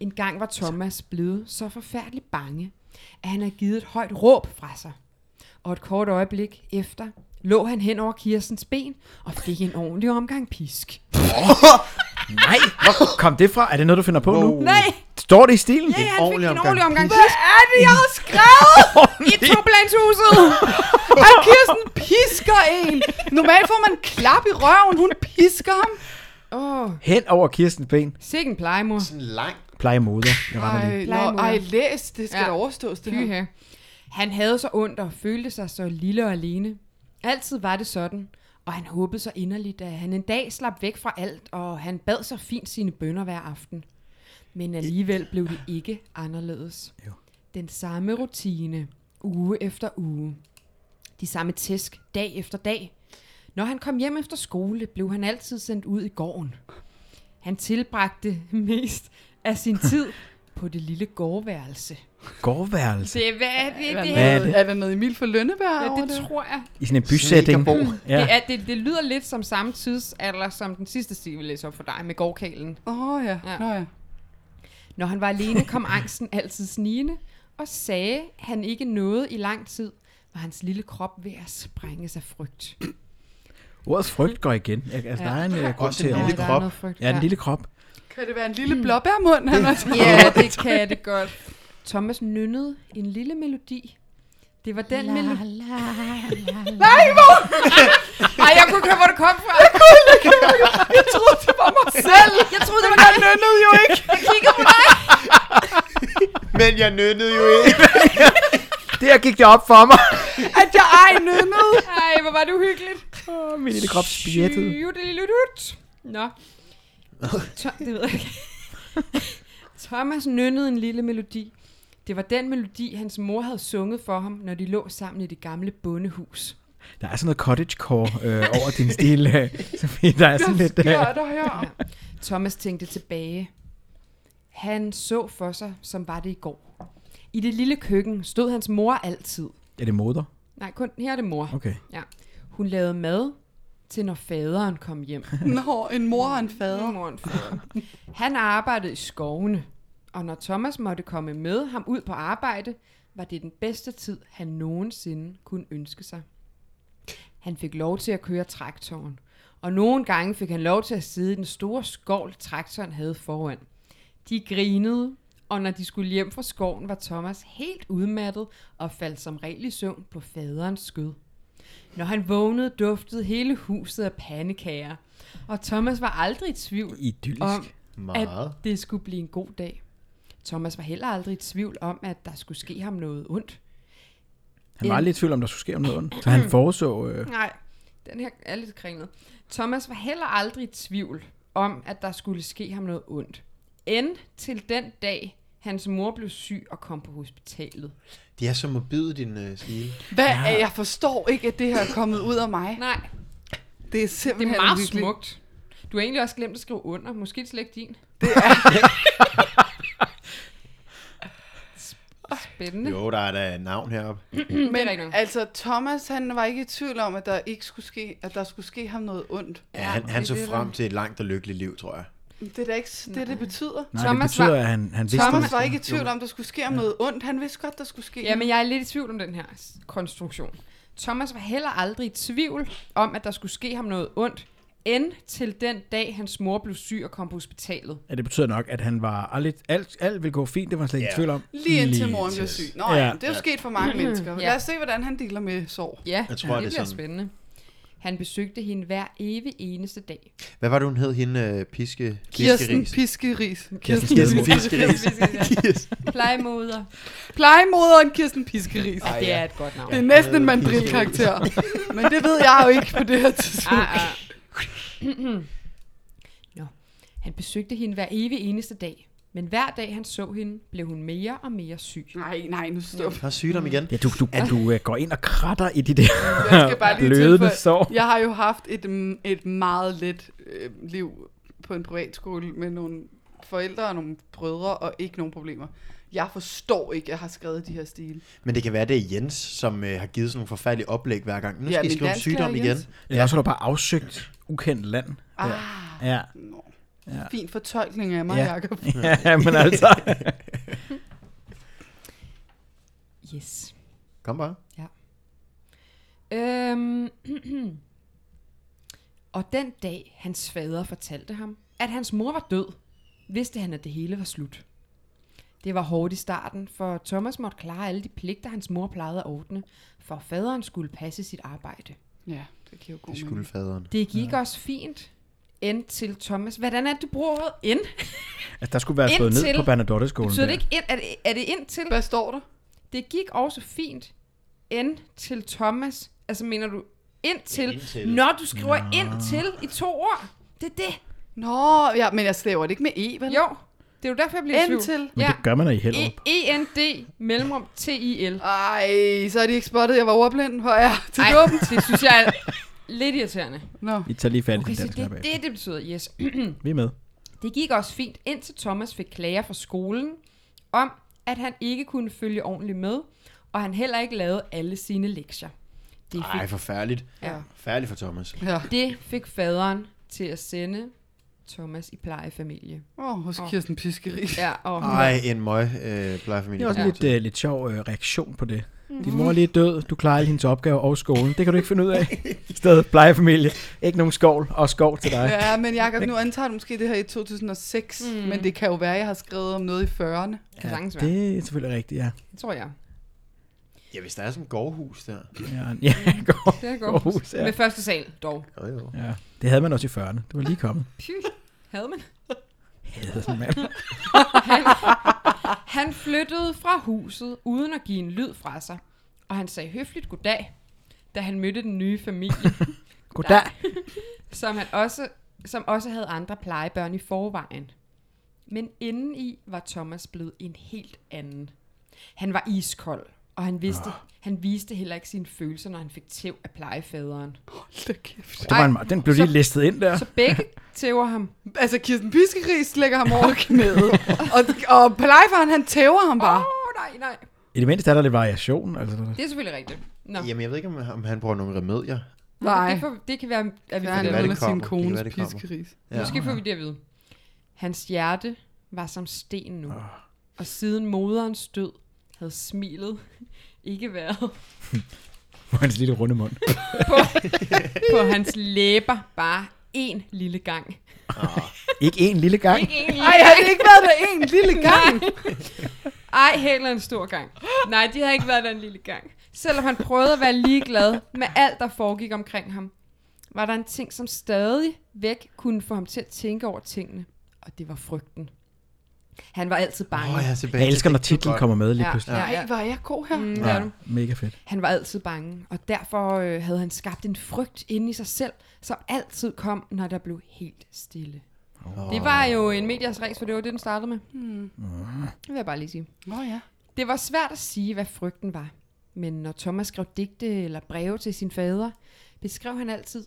Speaker 2: En gang var Thomas blevet så forfærdeligt bange, at han havde givet et højt råb fra sig. Og et kort øjeblik efter lå han hen over Kirstens ben og fik en ordentlig omgang pisk.
Speaker 5: Nej, hvor kom det fra? Er det noget, du finder på wow. nu?
Speaker 3: Wow.
Speaker 2: Nej,
Speaker 5: Står det i stilen?
Speaker 2: ja, han fik
Speaker 3: ordentlig
Speaker 2: en
Speaker 3: omgang
Speaker 2: ordentlig omgang
Speaker 3: pisk.
Speaker 2: pisk. Hvad er det, jeg har skrevet i toblandshuset?
Speaker 4: Og Kirsten pisker en. Normalt får man klap i røven. Hun pisker ham.
Speaker 2: Åh, oh,
Speaker 5: Hen over Kirstens ben.
Speaker 2: sikke en plejemor.
Speaker 3: Sådan lang.
Speaker 5: Plejer moder. Jeg retter lige.
Speaker 4: Ej, nå, ej læs. Det skal
Speaker 2: Ja.
Speaker 4: ja. overstås, det her.
Speaker 2: Fyha. Han havde så ondt og følte sig så lille og alene. Altid var det sådan, og han håbede så inderligt, at han en dag slap væk fra alt, og han bad så fint sine bønder hver aften. Men alligevel blev det ikke anderledes.
Speaker 5: Jo.
Speaker 2: Den samme rutine, uge efter uge. De samme tæsk, dag efter dag. Når han kom hjem efter skole, blev han altid sendt ud i gården. Han tilbragte mest af sin tid på det lille gårdværelse.
Speaker 5: Gårdværelse.
Speaker 2: Det er, hvad er det, det,
Speaker 4: Det
Speaker 2: det,
Speaker 5: Hvad
Speaker 2: er,
Speaker 5: er
Speaker 4: er,
Speaker 5: det?
Speaker 4: det? er der noget Emil for Lønneberg
Speaker 2: ja,
Speaker 4: over
Speaker 2: det
Speaker 4: det?
Speaker 2: tror jeg.
Speaker 5: I sådan en bysætning.
Speaker 3: Snekerbo.
Speaker 5: Ja.
Speaker 2: Det, er, det, det lyder lidt som samme tidsalder som den sidste stil, vi læser op for dig med gårdkælen.
Speaker 4: Åh oh, ja.
Speaker 2: Ja.
Speaker 4: Nå ja.
Speaker 2: Når han var alene, kom angsten altid snigende, og sagde han ikke noget i lang tid, var hans lille krop ved at sprænges af frygt.
Speaker 5: Ordet frygt går igen. Jeg- Altså,
Speaker 2: Ja.
Speaker 5: der er en øh, grund
Speaker 3: Også
Speaker 5: til
Speaker 3: en
Speaker 5: at...
Speaker 3: lille
Speaker 2: der er
Speaker 3: krop.
Speaker 2: noget frygt.
Speaker 5: Ja, den lille krop.
Speaker 4: Kan det være en lille blåbærmund, han har
Speaker 2: Mm. ja, det kan det godt. Thomas nynnede en lille melodi. Det var den melodi... Nej, hvor! Ej, jeg kunne ikke høre, hvor det kom fra. Jeg kunne ikke. Jeg troede, det var mig selv. Jeg troede, det var dig. Jeg nynnede jo ikke. Jeg kiggede på dig.
Speaker 3: Men jeg nønnede jo ikke.
Speaker 5: Der gik det op for mig.
Speaker 2: At jeg ej nynnede. Ej, hvor var det uhyggeligt.
Speaker 5: Åh, Min lille krop spjættede.
Speaker 2: Sjudeliludut. Nå. To- det ved jeg ikke. Thomas nynnede en lille melodi. Det var den melodi, hans mor havde sunget for ham, når de lå sammen i det gamle bondehus.
Speaker 5: Der er sådan noget cottagecore øh, over din stil, øh, Sofie. Der er sådan lidt... Øh,
Speaker 4: skørt at høre.
Speaker 2: Thomas tænkte tilbage. Han så for sig, som var det i går. I det lille køkken stod hans mor altid.
Speaker 5: er det moder?
Speaker 2: Nej, kun her er det mor.
Speaker 5: Okay.
Speaker 2: Ja. Hun lavede mad til, når faderen kom hjem.
Speaker 4: Nå, en mor og en fader.
Speaker 2: Moren Han arbejdede i skovene, og når Thomas måtte komme med ham ud på arbejde, var det den bedste tid, han nogensinde kunne ønske sig. Han fik lov til at køre traktoren, og nogle gange fik han lov til at sidde i den store skovl, traktoren havde foran. De grinede, og når de skulle hjem fra skoven, var Thomas helt udmattet og faldt som regel i søvn på faderens skød. Når han vågnede, duftede hele huset af pandekager, og Thomas var aldrig i tvivl
Speaker 5: Idyllisk.
Speaker 2: om,
Speaker 3: Meget.
Speaker 2: at det skulle blive en god dag. Thomas var heller aldrig i tvivl om, at der skulle ske ham noget ondt.
Speaker 5: Han var aldrig i tvivl om, der skulle ske om noget ondt. Så han foreså... Øh,
Speaker 2: Nej, den her er lidt kringlet. Thomas var heller aldrig i tvivl om, at der skulle ske ham noget ondt. End til den dag, hans mor blev syg og kom på hospitalet.
Speaker 3: De er så morbide, din uh, stil.
Speaker 4: Hvad er, jeg forstår ikke, at det her er kommet ud af mig.
Speaker 2: Nej,
Speaker 4: Det er
Speaker 2: det
Speaker 4: simpelthen
Speaker 2: er meget
Speaker 4: uhyggeligt.
Speaker 2: smukt. Du har egentlig også glemt at skrive under. Måske er det slet ikke din. Det er... Spændende.
Speaker 3: Jo, der er da et navn heroppe.
Speaker 2: det er
Speaker 4: Men
Speaker 2: rigtigt nok.
Speaker 4: altså, Thomas, han var ikke i tvivl om, at der ikke skulle ske, at der skulle ske ham noget ondt.
Speaker 3: Ja, han, han
Speaker 2: det
Speaker 3: så
Speaker 2: er det, der-
Speaker 3: frem til et langt og lykkeligt liv, tror jeg.
Speaker 4: Det er da ikke s- det, det betyder.
Speaker 5: nej,
Speaker 2: Thomas
Speaker 5: det betyder,
Speaker 2: var-
Speaker 5: at han, han vidste...
Speaker 4: Thomas
Speaker 5: det.
Speaker 4: var ikke i tvivl om, der skulle ske ham noget ondt. Han vidste godt, der skulle ske.
Speaker 2: Ja, men jeg er lidt i tvivl om den her s- konstruktion. Thomas var heller aldrig i tvivl om, at der skulle ske ham noget ondt, end til den dag, hans mor blev syg og kom på hospitalet.
Speaker 5: Ja, det betyder nok, at han var aldrig, alt, alt ville gå fint, det var han slet ikke i
Speaker 3: Ja.
Speaker 5: tvivl om.
Speaker 4: Lige indtil moren blev syg. Nå ja,
Speaker 5: Ja.
Speaker 4: det er jo sket for mange mennesker. Lad os se, hvordan han dealer med sorg.
Speaker 2: Ja,
Speaker 3: Jeg tror,
Speaker 2: det,
Speaker 3: det
Speaker 2: bliver
Speaker 3: er sådan.
Speaker 2: spændende. Han besøgte hende hver evig eneste dag.
Speaker 3: Hvad var det, hun hed, hende uh, piske,
Speaker 4: Kirsten
Speaker 3: piskeris?
Speaker 4: Piskeris.
Speaker 5: Kirsten Sted-
Speaker 3: Piskeris.
Speaker 2: Plejemoder.
Speaker 4: Plejemoderen Kirsten Piskeris. Ej,
Speaker 2: Det er et godt navn.
Speaker 4: Det er næsten en mandrilkarakter. Men det ved jeg jo ikke på det her tidspunkt.
Speaker 2: Ah, ah. Nå. Han besøgte hende hver evig eneste dag. Men hver dag han så hende, blev hun mere og mere syg.
Speaker 4: Nej, nej, nu stop.
Speaker 3: Der er sygdom igen.
Speaker 5: Ja, du, du, du øh, går ind og kratter i de der
Speaker 4: Jeg skal bare lige
Speaker 5: blødende
Speaker 4: tilføje.
Speaker 5: sår.
Speaker 4: Jeg har jo haft et, mm, et meget let øh, liv på en privatskole med nogle forældre og nogle brødre og ikke nogen problemer. Jeg forstår ikke, at jeg har skrevet de her stile.
Speaker 3: Men det kan være, det er Jens, som øh, har givet sådan nogle forfærdelige oplæg hver gang. Nu
Speaker 4: Ja,
Speaker 3: skal I
Speaker 4: min
Speaker 3: skrive om
Speaker 4: dansklærer
Speaker 3: sygdom igen.
Speaker 4: Jens.
Speaker 2: Ah.
Speaker 5: Eller også har du bare afsøgt ukendt land.
Speaker 4: Ah,
Speaker 5: Ja.
Speaker 4: nå.
Speaker 5: Ja.
Speaker 4: fin fortolkning af mig,
Speaker 5: Ja.
Speaker 4: ja. Jacob.
Speaker 5: ja, men altså.
Speaker 2: Yes.
Speaker 3: Kom bare.
Speaker 2: Øhm, og den dag, hans fader fortalte ham, at hans mor var død, vidste han, at det hele var slut. Det var hårdt i starten, for Thomas måtte klare alle de pligter, hans mor plejede at ordne, for faderen skulle passe sit arbejde.
Speaker 4: Ja, det giver jo god
Speaker 3: Det
Speaker 4: mening.
Speaker 3: skulle faderen.
Speaker 2: Det gik ja. også fint, indtil Thomas... Hvordan er det, du bruger ordet ind?
Speaker 5: Altså, der skulle være slået ned
Speaker 2: Indtil-
Speaker 5: på Bernadotte-skolen.
Speaker 2: Betyder det ikke
Speaker 5: der.
Speaker 2: ind? Er det, er det indtil?
Speaker 4: Hvad står der?
Speaker 2: Det gik også fint ind til Thomas. Altså mener du indtil?
Speaker 3: Indtil.
Speaker 2: Når du skriver Nå. indtil i to ord. Det er det.
Speaker 4: Nå, ja, men jeg slæver det ikke med E, vel?
Speaker 2: Jo, det er jo derfor, jeg bliver i tvivl.
Speaker 4: Indtil.
Speaker 5: Men
Speaker 2: Ja. E,
Speaker 5: det gør man da i Hellerup.
Speaker 2: E-N-D mellemrum T-I-L.
Speaker 4: Ej, så har de ikke spottet, at jeg var ordblind. Hvor er jeg til
Speaker 2: Ej,
Speaker 4: dum?
Speaker 2: det synes jeg er lidt irriterende.
Speaker 4: Nå.
Speaker 5: Vi tager lige fat i
Speaker 2: Okay,
Speaker 5: den
Speaker 2: så
Speaker 5: dansk
Speaker 2: det er
Speaker 5: det...
Speaker 2: det, det betyder, yes.
Speaker 5: Vi er med.
Speaker 2: Det gik også fint, indtil Thomas fik klager fra skolen om, at han ikke kunne følge ordentligt med, og han heller ikke lavede alle sine lektier. Det fik
Speaker 3: Ej, forfærdeligt.
Speaker 2: Mm. Ja.
Speaker 3: Forfærdeligt for Thomas.
Speaker 4: Ja.
Speaker 2: Det fik faderen til at sende Thomas i plejefamilie.
Speaker 4: Åh, oh, hos
Speaker 2: Åh.
Speaker 4: Kirsten Piskeri.
Speaker 2: Ja, og
Speaker 3: Ej, en møg øh, plejefamilie.
Speaker 5: Det er også
Speaker 2: Ja. Mm.
Speaker 5: ja. lidt, øh, lidt sjov øh, reaktion på det. Din mor er lige død, du klarer alle hendes opgaver og skolen. Det kan du ikke finde ud af. I stedet plejefamilie. Ikke nogen skov og skov til dig.
Speaker 4: Ja, men Jacob, nu antager du måske det her i 2006, mm. men det kan jo være, at jeg har skrevet om noget i 40'erne.
Speaker 2: kan sagtens være.
Speaker 5: det er selvfølgelig rigtigt, ja.
Speaker 2: det tror jeg.
Speaker 3: Ja, hvis der er sådan et gårdhus der.
Speaker 5: Ja, ja, går.
Speaker 2: Det er godt.
Speaker 5: Aarhus, ja.
Speaker 2: Med første sal, dog.
Speaker 3: Jo, jo.
Speaker 2: Mm.
Speaker 5: ja. Det havde man også i 40'erne. Det var lige kommet.
Speaker 2: Py, havde man.
Speaker 5: Havde man.
Speaker 2: Han, han flyttede fra huset, uden at give en lyd fra sig. Og han sagde høfligt goddag, da han mødte den nye familie,
Speaker 5: Goddag.
Speaker 2: som, han også, som også havde andre plejebørn i forvejen. Men indeni var Thomas blevet en helt anden. Han var iskold, og han, vidste, han viste heller ikke sine følelser, når han fik tæv af plejefaderen.
Speaker 4: Hold da kæft.
Speaker 5: Det var en, meget- den blev lige
Speaker 2: Så-
Speaker 5: listet ind der.
Speaker 2: Så begge tæver ham.
Speaker 4: Altså, Kirsten Piskeri slækker ham over knæet, og, og plejefaren, han tæver ham
Speaker 2: Åh,
Speaker 4: bare.
Speaker 2: oh, nej, nej.
Speaker 5: I det mindste er der lidt variation. Altså, der-
Speaker 2: Det er selvfølgelig rigtigt. Nå,
Speaker 3: Jamen, jeg ved ikke, om, om han bruger nogle remedier.
Speaker 4: Nej.
Speaker 2: Det, får, vi- det kan være, at vi
Speaker 4: Ja,
Speaker 2: får
Speaker 4: han er
Speaker 2: det.
Speaker 3: være,
Speaker 4: under
Speaker 2: at vide.
Speaker 3: det
Speaker 4: sin
Speaker 3: kommer. Det kan
Speaker 4: kones
Speaker 3: være, det kommer.
Speaker 4: piskeris.
Speaker 3: Ja.
Speaker 2: Måske får vi det at vide. Hans hjerte var som sten nu, og siden moderens død havde smilet ikke været
Speaker 5: På hans lille runde mund.
Speaker 2: på hans læber bare en lille gang.
Speaker 5: Ikke en lille gang.
Speaker 2: Ikke
Speaker 4: Ej,
Speaker 2: en lille
Speaker 4: har det ikke været der en lille gang?
Speaker 2: gang. Ej, heller en stor gang. Nej, de havde ikke været der en lille gang. Selvom han prøvede at være ligeglad med alt, der foregik omkring ham, var der en ting, som stadig væk kunne få ham til at tænke over tingene. Og det var frygten. Han var altid bange.
Speaker 3: Åh, jeg er tilbage.
Speaker 5: Jeg elsker,
Speaker 3: til
Speaker 5: når
Speaker 3: det.
Speaker 5: titlen kommer med lige
Speaker 2: Ja,
Speaker 5: pludselig.
Speaker 2: ja,
Speaker 4: Nej,
Speaker 2: ja.
Speaker 4: hvor er jeg god her.
Speaker 2: Mm, det er du.
Speaker 5: Mega fedt.
Speaker 2: Han var altid bange, og derfor øh, havde han skabt en frygt inde i sig selv, som altid kom, når der blev helt stille. Oh. Det var jo en medias race, for det var det, den startede med. Mm. Det vil jeg bare lige sige.
Speaker 4: Nå ja.
Speaker 2: Det var svært at sige, hvad frygten var. Men når Thomas skrev digte eller breve til sin fader, beskrev han altid,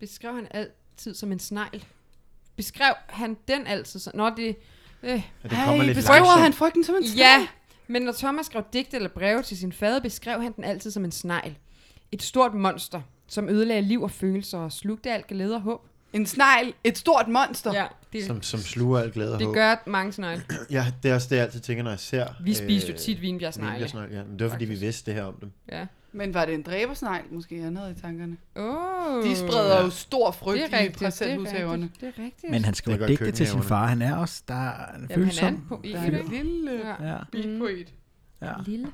Speaker 2: beskrev han altid som en snegl. Beskrev han den altid som... Nå, det... Øh,
Speaker 3: Ja, det kommer lidt
Speaker 4: beskriver
Speaker 3: langsomt.
Speaker 4: han frygten som en
Speaker 2: ja, men når Thomas skrev digte eller breve til sin fader, beskrev han den altid som en snegl. Et stort monster, som ødelagde liv og følelser og slugte alt glæde og håb.
Speaker 4: En snegl, et stort monster. Ja.
Speaker 2: det,
Speaker 3: Som, som sluger alt glæde og
Speaker 2: det
Speaker 3: håb.
Speaker 2: gør mange snegle.
Speaker 3: Ja, det er også det, jeg altid tænker, når jeg ser... øh,
Speaker 2: Vi spiser jo tit vinbjergsnegle.
Speaker 3: vinbjergsnegle, ja. Men det var, fordi vi vidste det her om dem.
Speaker 2: Ja.
Speaker 4: Men var det en dræbersnegl, måske han havde i tankerne?
Speaker 2: Oh,
Speaker 4: De spreder jo stor frygt
Speaker 2: det er
Speaker 4: i
Speaker 2: rigtigt,
Speaker 4: parcelhushaverne.
Speaker 2: Det er rigtigt.
Speaker 5: Men han skriver
Speaker 3: Det gør
Speaker 5: digte til sin
Speaker 3: køkkenhaverne.
Speaker 5: far. Han er også, der er en
Speaker 2: Jamen, han
Speaker 5: følsom.
Speaker 2: er en poet,
Speaker 4: Der er
Speaker 2: ikke?
Speaker 4: en lille
Speaker 2: Ja.
Speaker 5: Ja,
Speaker 4: bilpoet.
Speaker 5: ja.
Speaker 2: Lille.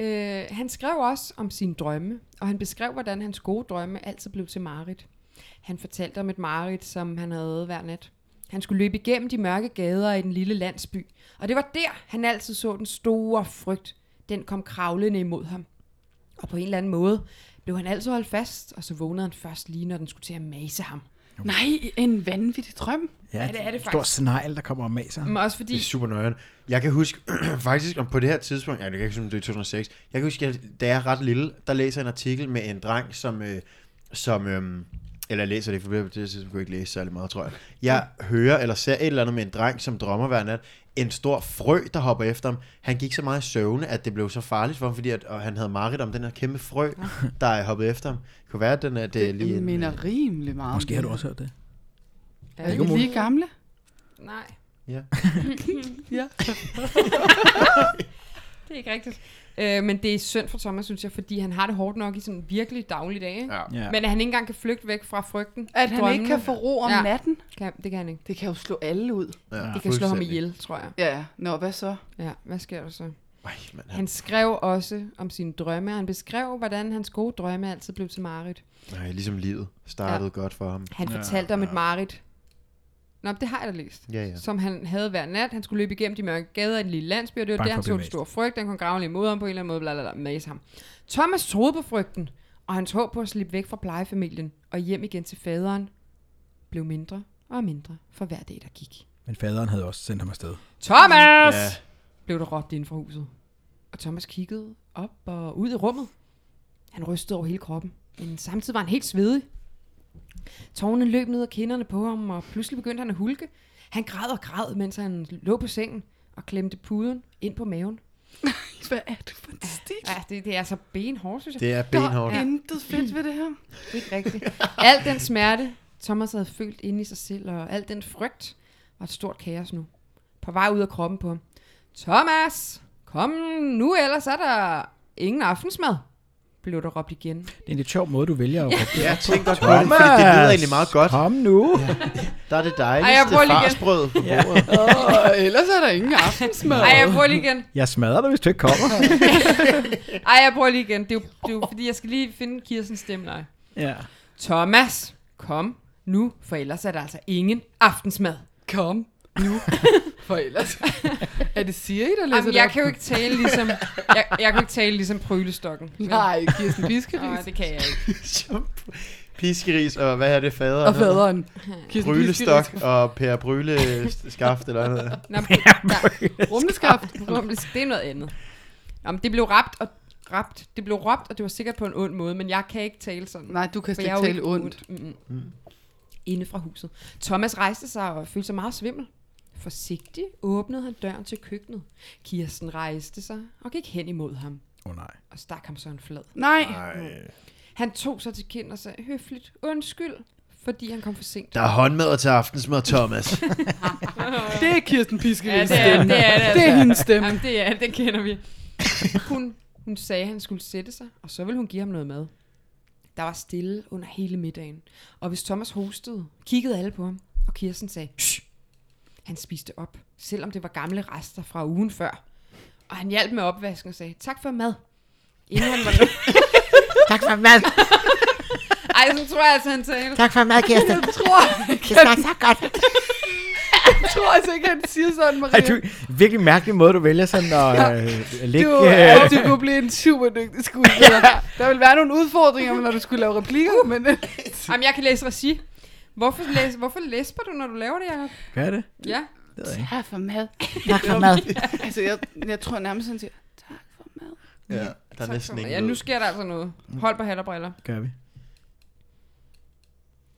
Speaker 2: Øh, han skrev også om sine drømme, og han beskrev, hvordan hans gode drømme altid blev til mareridt. Han fortalte om et mareridt, som han havde hver nat. Han skulle løbe igennem de mørke gader i den lille landsby, og det var der, han altid så den store frygt. Den kom kravlende imod ham. Og på en eller anden måde blev han altid holdt fast, og så vågnede han først lige, når den skulle til at mase ham.
Speaker 4: Nej, en vanvittig drøm.
Speaker 5: ja
Speaker 2: det er det Mm.
Speaker 5: en stor snegl, der kommer og maser.
Speaker 2: Men også fordi...
Speaker 3: Det er super nøjeren. Jeg kan huske, faktisk om på det her tidspunkt, ja, det kan jeg ikke huske, om det er 2006, jeg kan huske, at da jeg er ret lille, der læser jeg en artikel med en dreng, som, øh, som øh, eller jeg læser det, for på det her tidspunkt kunne jeg ikke læse særlig meget, tror jeg. Jeg hører eller ser et eller andet med en dreng, som drømmer hver nat, en stor frø, der hopper efter ham. Han gik så meget i søvne, at det blev så farligt for ham, fordi at, og han havde mareridt om den her kæmpe frø, der er hoppet efter ham. Det kunne være, at den er, det er lige
Speaker 4: Det
Speaker 3: en... øh,
Speaker 4: minder rimelig meget. om
Speaker 5: Måske har
Speaker 4: det.
Speaker 5: du også hørt det.
Speaker 2: Ja,
Speaker 5: det
Speaker 4: Er
Speaker 5: god
Speaker 4: vi
Speaker 5: måde.
Speaker 4: lige gamle?
Speaker 2: Nej,
Speaker 3: øh, Ja.
Speaker 4: Ja.
Speaker 2: det er ikke rigtigt. Øh, men det er synd for Thomas, synes jeg, fordi han har det hårdt nok i sådan virkelig dagligdag. Ikke?
Speaker 3: ja.
Speaker 5: Ja.
Speaker 2: Men at han ikke engang kan flygte væk fra frygten.
Speaker 4: At han ikke
Speaker 2: drømmene.
Speaker 4: kan få ro om
Speaker 2: Ja.
Speaker 4: natten.
Speaker 2: Kan, det kan han ikke.
Speaker 4: Det kan jo slå alle ud.
Speaker 3: ja
Speaker 2: Det kan slå ham
Speaker 3: fuldstændig.
Speaker 2: ihjel, tror jeg.
Speaker 4: Ja, nå, hvad så?
Speaker 2: Ja, hvad sker der så?
Speaker 3: Ej, mand, han,
Speaker 2: Han skrev også om sine drømme. Han beskrev, hvordan hans gode drømme altid blev til mareridt.
Speaker 3: nej, ligesom livet startede ja. godt for ham.
Speaker 2: Han
Speaker 5: Ja,
Speaker 2: ja, fortalte om et mareridt. Nå, men det har jeg da læst.
Speaker 3: Ja, ja.
Speaker 2: Som han havde hver nat. Han skulle løbe igennem de mørke gader i den lille landsby, og det var
Speaker 5: Bange
Speaker 2: der,
Speaker 5: for
Speaker 2: han
Speaker 5: at
Speaker 2: så
Speaker 5: blive
Speaker 2: en stor frygt. Han kunne grave lidt mod ham på en eller anden måde, bla, bla, bla, mase ham. Thomas troede på frygten, og hans håb på at slippe væk fra plejefamilien og hjem igen til faderen blev mindre og mindre for hver dag, der gik.
Speaker 5: Men faderen havde også sendt ham afsted.
Speaker 2: Thomas!
Speaker 3: Ja.
Speaker 2: Ja. blev der råbt inden for huset. Og Thomas kiggede op og ud i rummet. Han rystede over hele kroppen, men samtidig var han helt svedig. Tårne løb ned ad kinderne på ham, og pludselig begyndte han at hulke. Han græd og græd, mens han lå på sengen og klemte puden ind på maven.
Speaker 4: Hvad er det for en stil?
Speaker 2: Ja, det, det er altså benhårdt, synes jeg.
Speaker 3: Det er
Speaker 4: Der
Speaker 3: benhårdt.
Speaker 4: er intet fedt ved det her.
Speaker 2: Det er ikke rigtigt. Al den smerte, Thomas havde følt inde i sig selv, og al den frygt, var et stort kaos nu. På vej ud af kroppen på ham. Thomas, kom nu, ellers er der ingen aftensmad, blev der råbt igen.
Speaker 5: Det er en lidt sjov måde, du vælger at råbe.
Speaker 3: Ja, jeg tænkte godt på det, fordi det lyder egentlig meget godt.
Speaker 5: Kom nu!
Speaker 3: Der er det
Speaker 2: Ej, jeg
Speaker 3: dejligste
Speaker 2: prøver lige igen.
Speaker 3: farsbrød på bordet.
Speaker 4: Og ellers er der ingen aftensmad.
Speaker 2: Ej, jeg prøver lige igen.
Speaker 5: Jeg smadrer dig, hvis du ikke kommer.
Speaker 2: Ej, jeg prøver lige igen. Det er jo, det er jo fordi, jeg skal lige finde Kirsens stemme. Nej.
Speaker 5: ja.
Speaker 2: Thomas, kom nu, for ellers er der altså ingen aftensmad. Kom.
Speaker 4: For ellers. er det Siri, der læser
Speaker 2: Jamen,
Speaker 4: det
Speaker 2: jeg
Speaker 4: op?
Speaker 2: kan jo ikke tale ligesom, jeg, jeg kan jo ikke tale ligesom prylestokken. Vel?
Speaker 4: Nej, Kirsten Biskeris.
Speaker 2: Nej, det kan jeg ikke.
Speaker 3: Piskeris, og hvad er det, fader?
Speaker 4: Og faderen. Kirsten
Speaker 3: Brylestok og Per Bryle skaft eller noget.
Speaker 2: Nå, men det, der,
Speaker 4: Rumleskaft.
Speaker 2: Rumles, det er noget andet. Nå, men det blev rapt og rapt. Det blev råbt, og det var sikkert på en ond måde, men jeg kan ikke tale sådan.
Speaker 4: Nej, du kan
Speaker 2: for
Speaker 4: slet
Speaker 2: jeg er
Speaker 4: ikke
Speaker 2: jo
Speaker 4: tale ondt.
Speaker 2: Mm. Inde fra huset. Thomas rejste sig og følte sig meget svimmel. Forsigtigt åbnede han døren til køkkenet. Kirsten rejste sig og gik hen imod ham
Speaker 5: Åh oh, nej.
Speaker 2: og stak ham så en flad.
Speaker 4: Nej.
Speaker 2: Han tog sig til kind og sagde høfligt undskyld, fordi han kom for sent.
Speaker 3: Der er håndmad til aftensmad, Thomas.
Speaker 4: Det er Kirsten Piskeris.
Speaker 2: Ja, det er det. Er, det, altså. er,
Speaker 4: det er hendes stemme.
Speaker 2: Jamen, det er det kender vi. Hun, hun sagde, at han skulle sætte sig, og så ville hun give ham noget mad. Der var stille under hele middagen, og hvis Thomas hostede, kiggede alle på ham, og Kirsten sagde, Shh! Han spiste op, selvom det var gamle rester fra ugen før. Og han hjalp med opvasken og sagde, tak for mad. Inden han var
Speaker 6: Tak for mad.
Speaker 2: Ej, så tror jeg altså, han talte.
Speaker 6: Tak for mad, Kirsten.
Speaker 4: Jeg tror,
Speaker 6: Det smager så godt.
Speaker 4: jeg tror altså ikke, han siger sådan, Maria.
Speaker 5: Ej, du, virkelig mærkelig måde, du vælger sådan at øh,
Speaker 4: Det
Speaker 5: lægge...
Speaker 4: var,
Speaker 5: øh,
Speaker 4: at du kunne blive en super dygtig skuespiller. Der ville være nogle udfordringer, når du skulle lave replikker, men øh,
Speaker 2: Jamen, jeg kan læse regi. Hvorfor, læs, hvorfor læsper du, når du laver det, Jacob?
Speaker 5: Gør det?
Speaker 2: Ja.
Speaker 5: Det ved jeg ikke.
Speaker 4: tak for mad.
Speaker 6: Tak for mad.
Speaker 4: Altså, jeg, jeg tror nærmest, han siger, tak for mad.
Speaker 3: ja, der er
Speaker 2: tak for
Speaker 3: næsten
Speaker 2: mig.
Speaker 3: ingen
Speaker 2: Ja, nu sker der altså noget. Hold på hat og briller.
Speaker 5: Gør vi.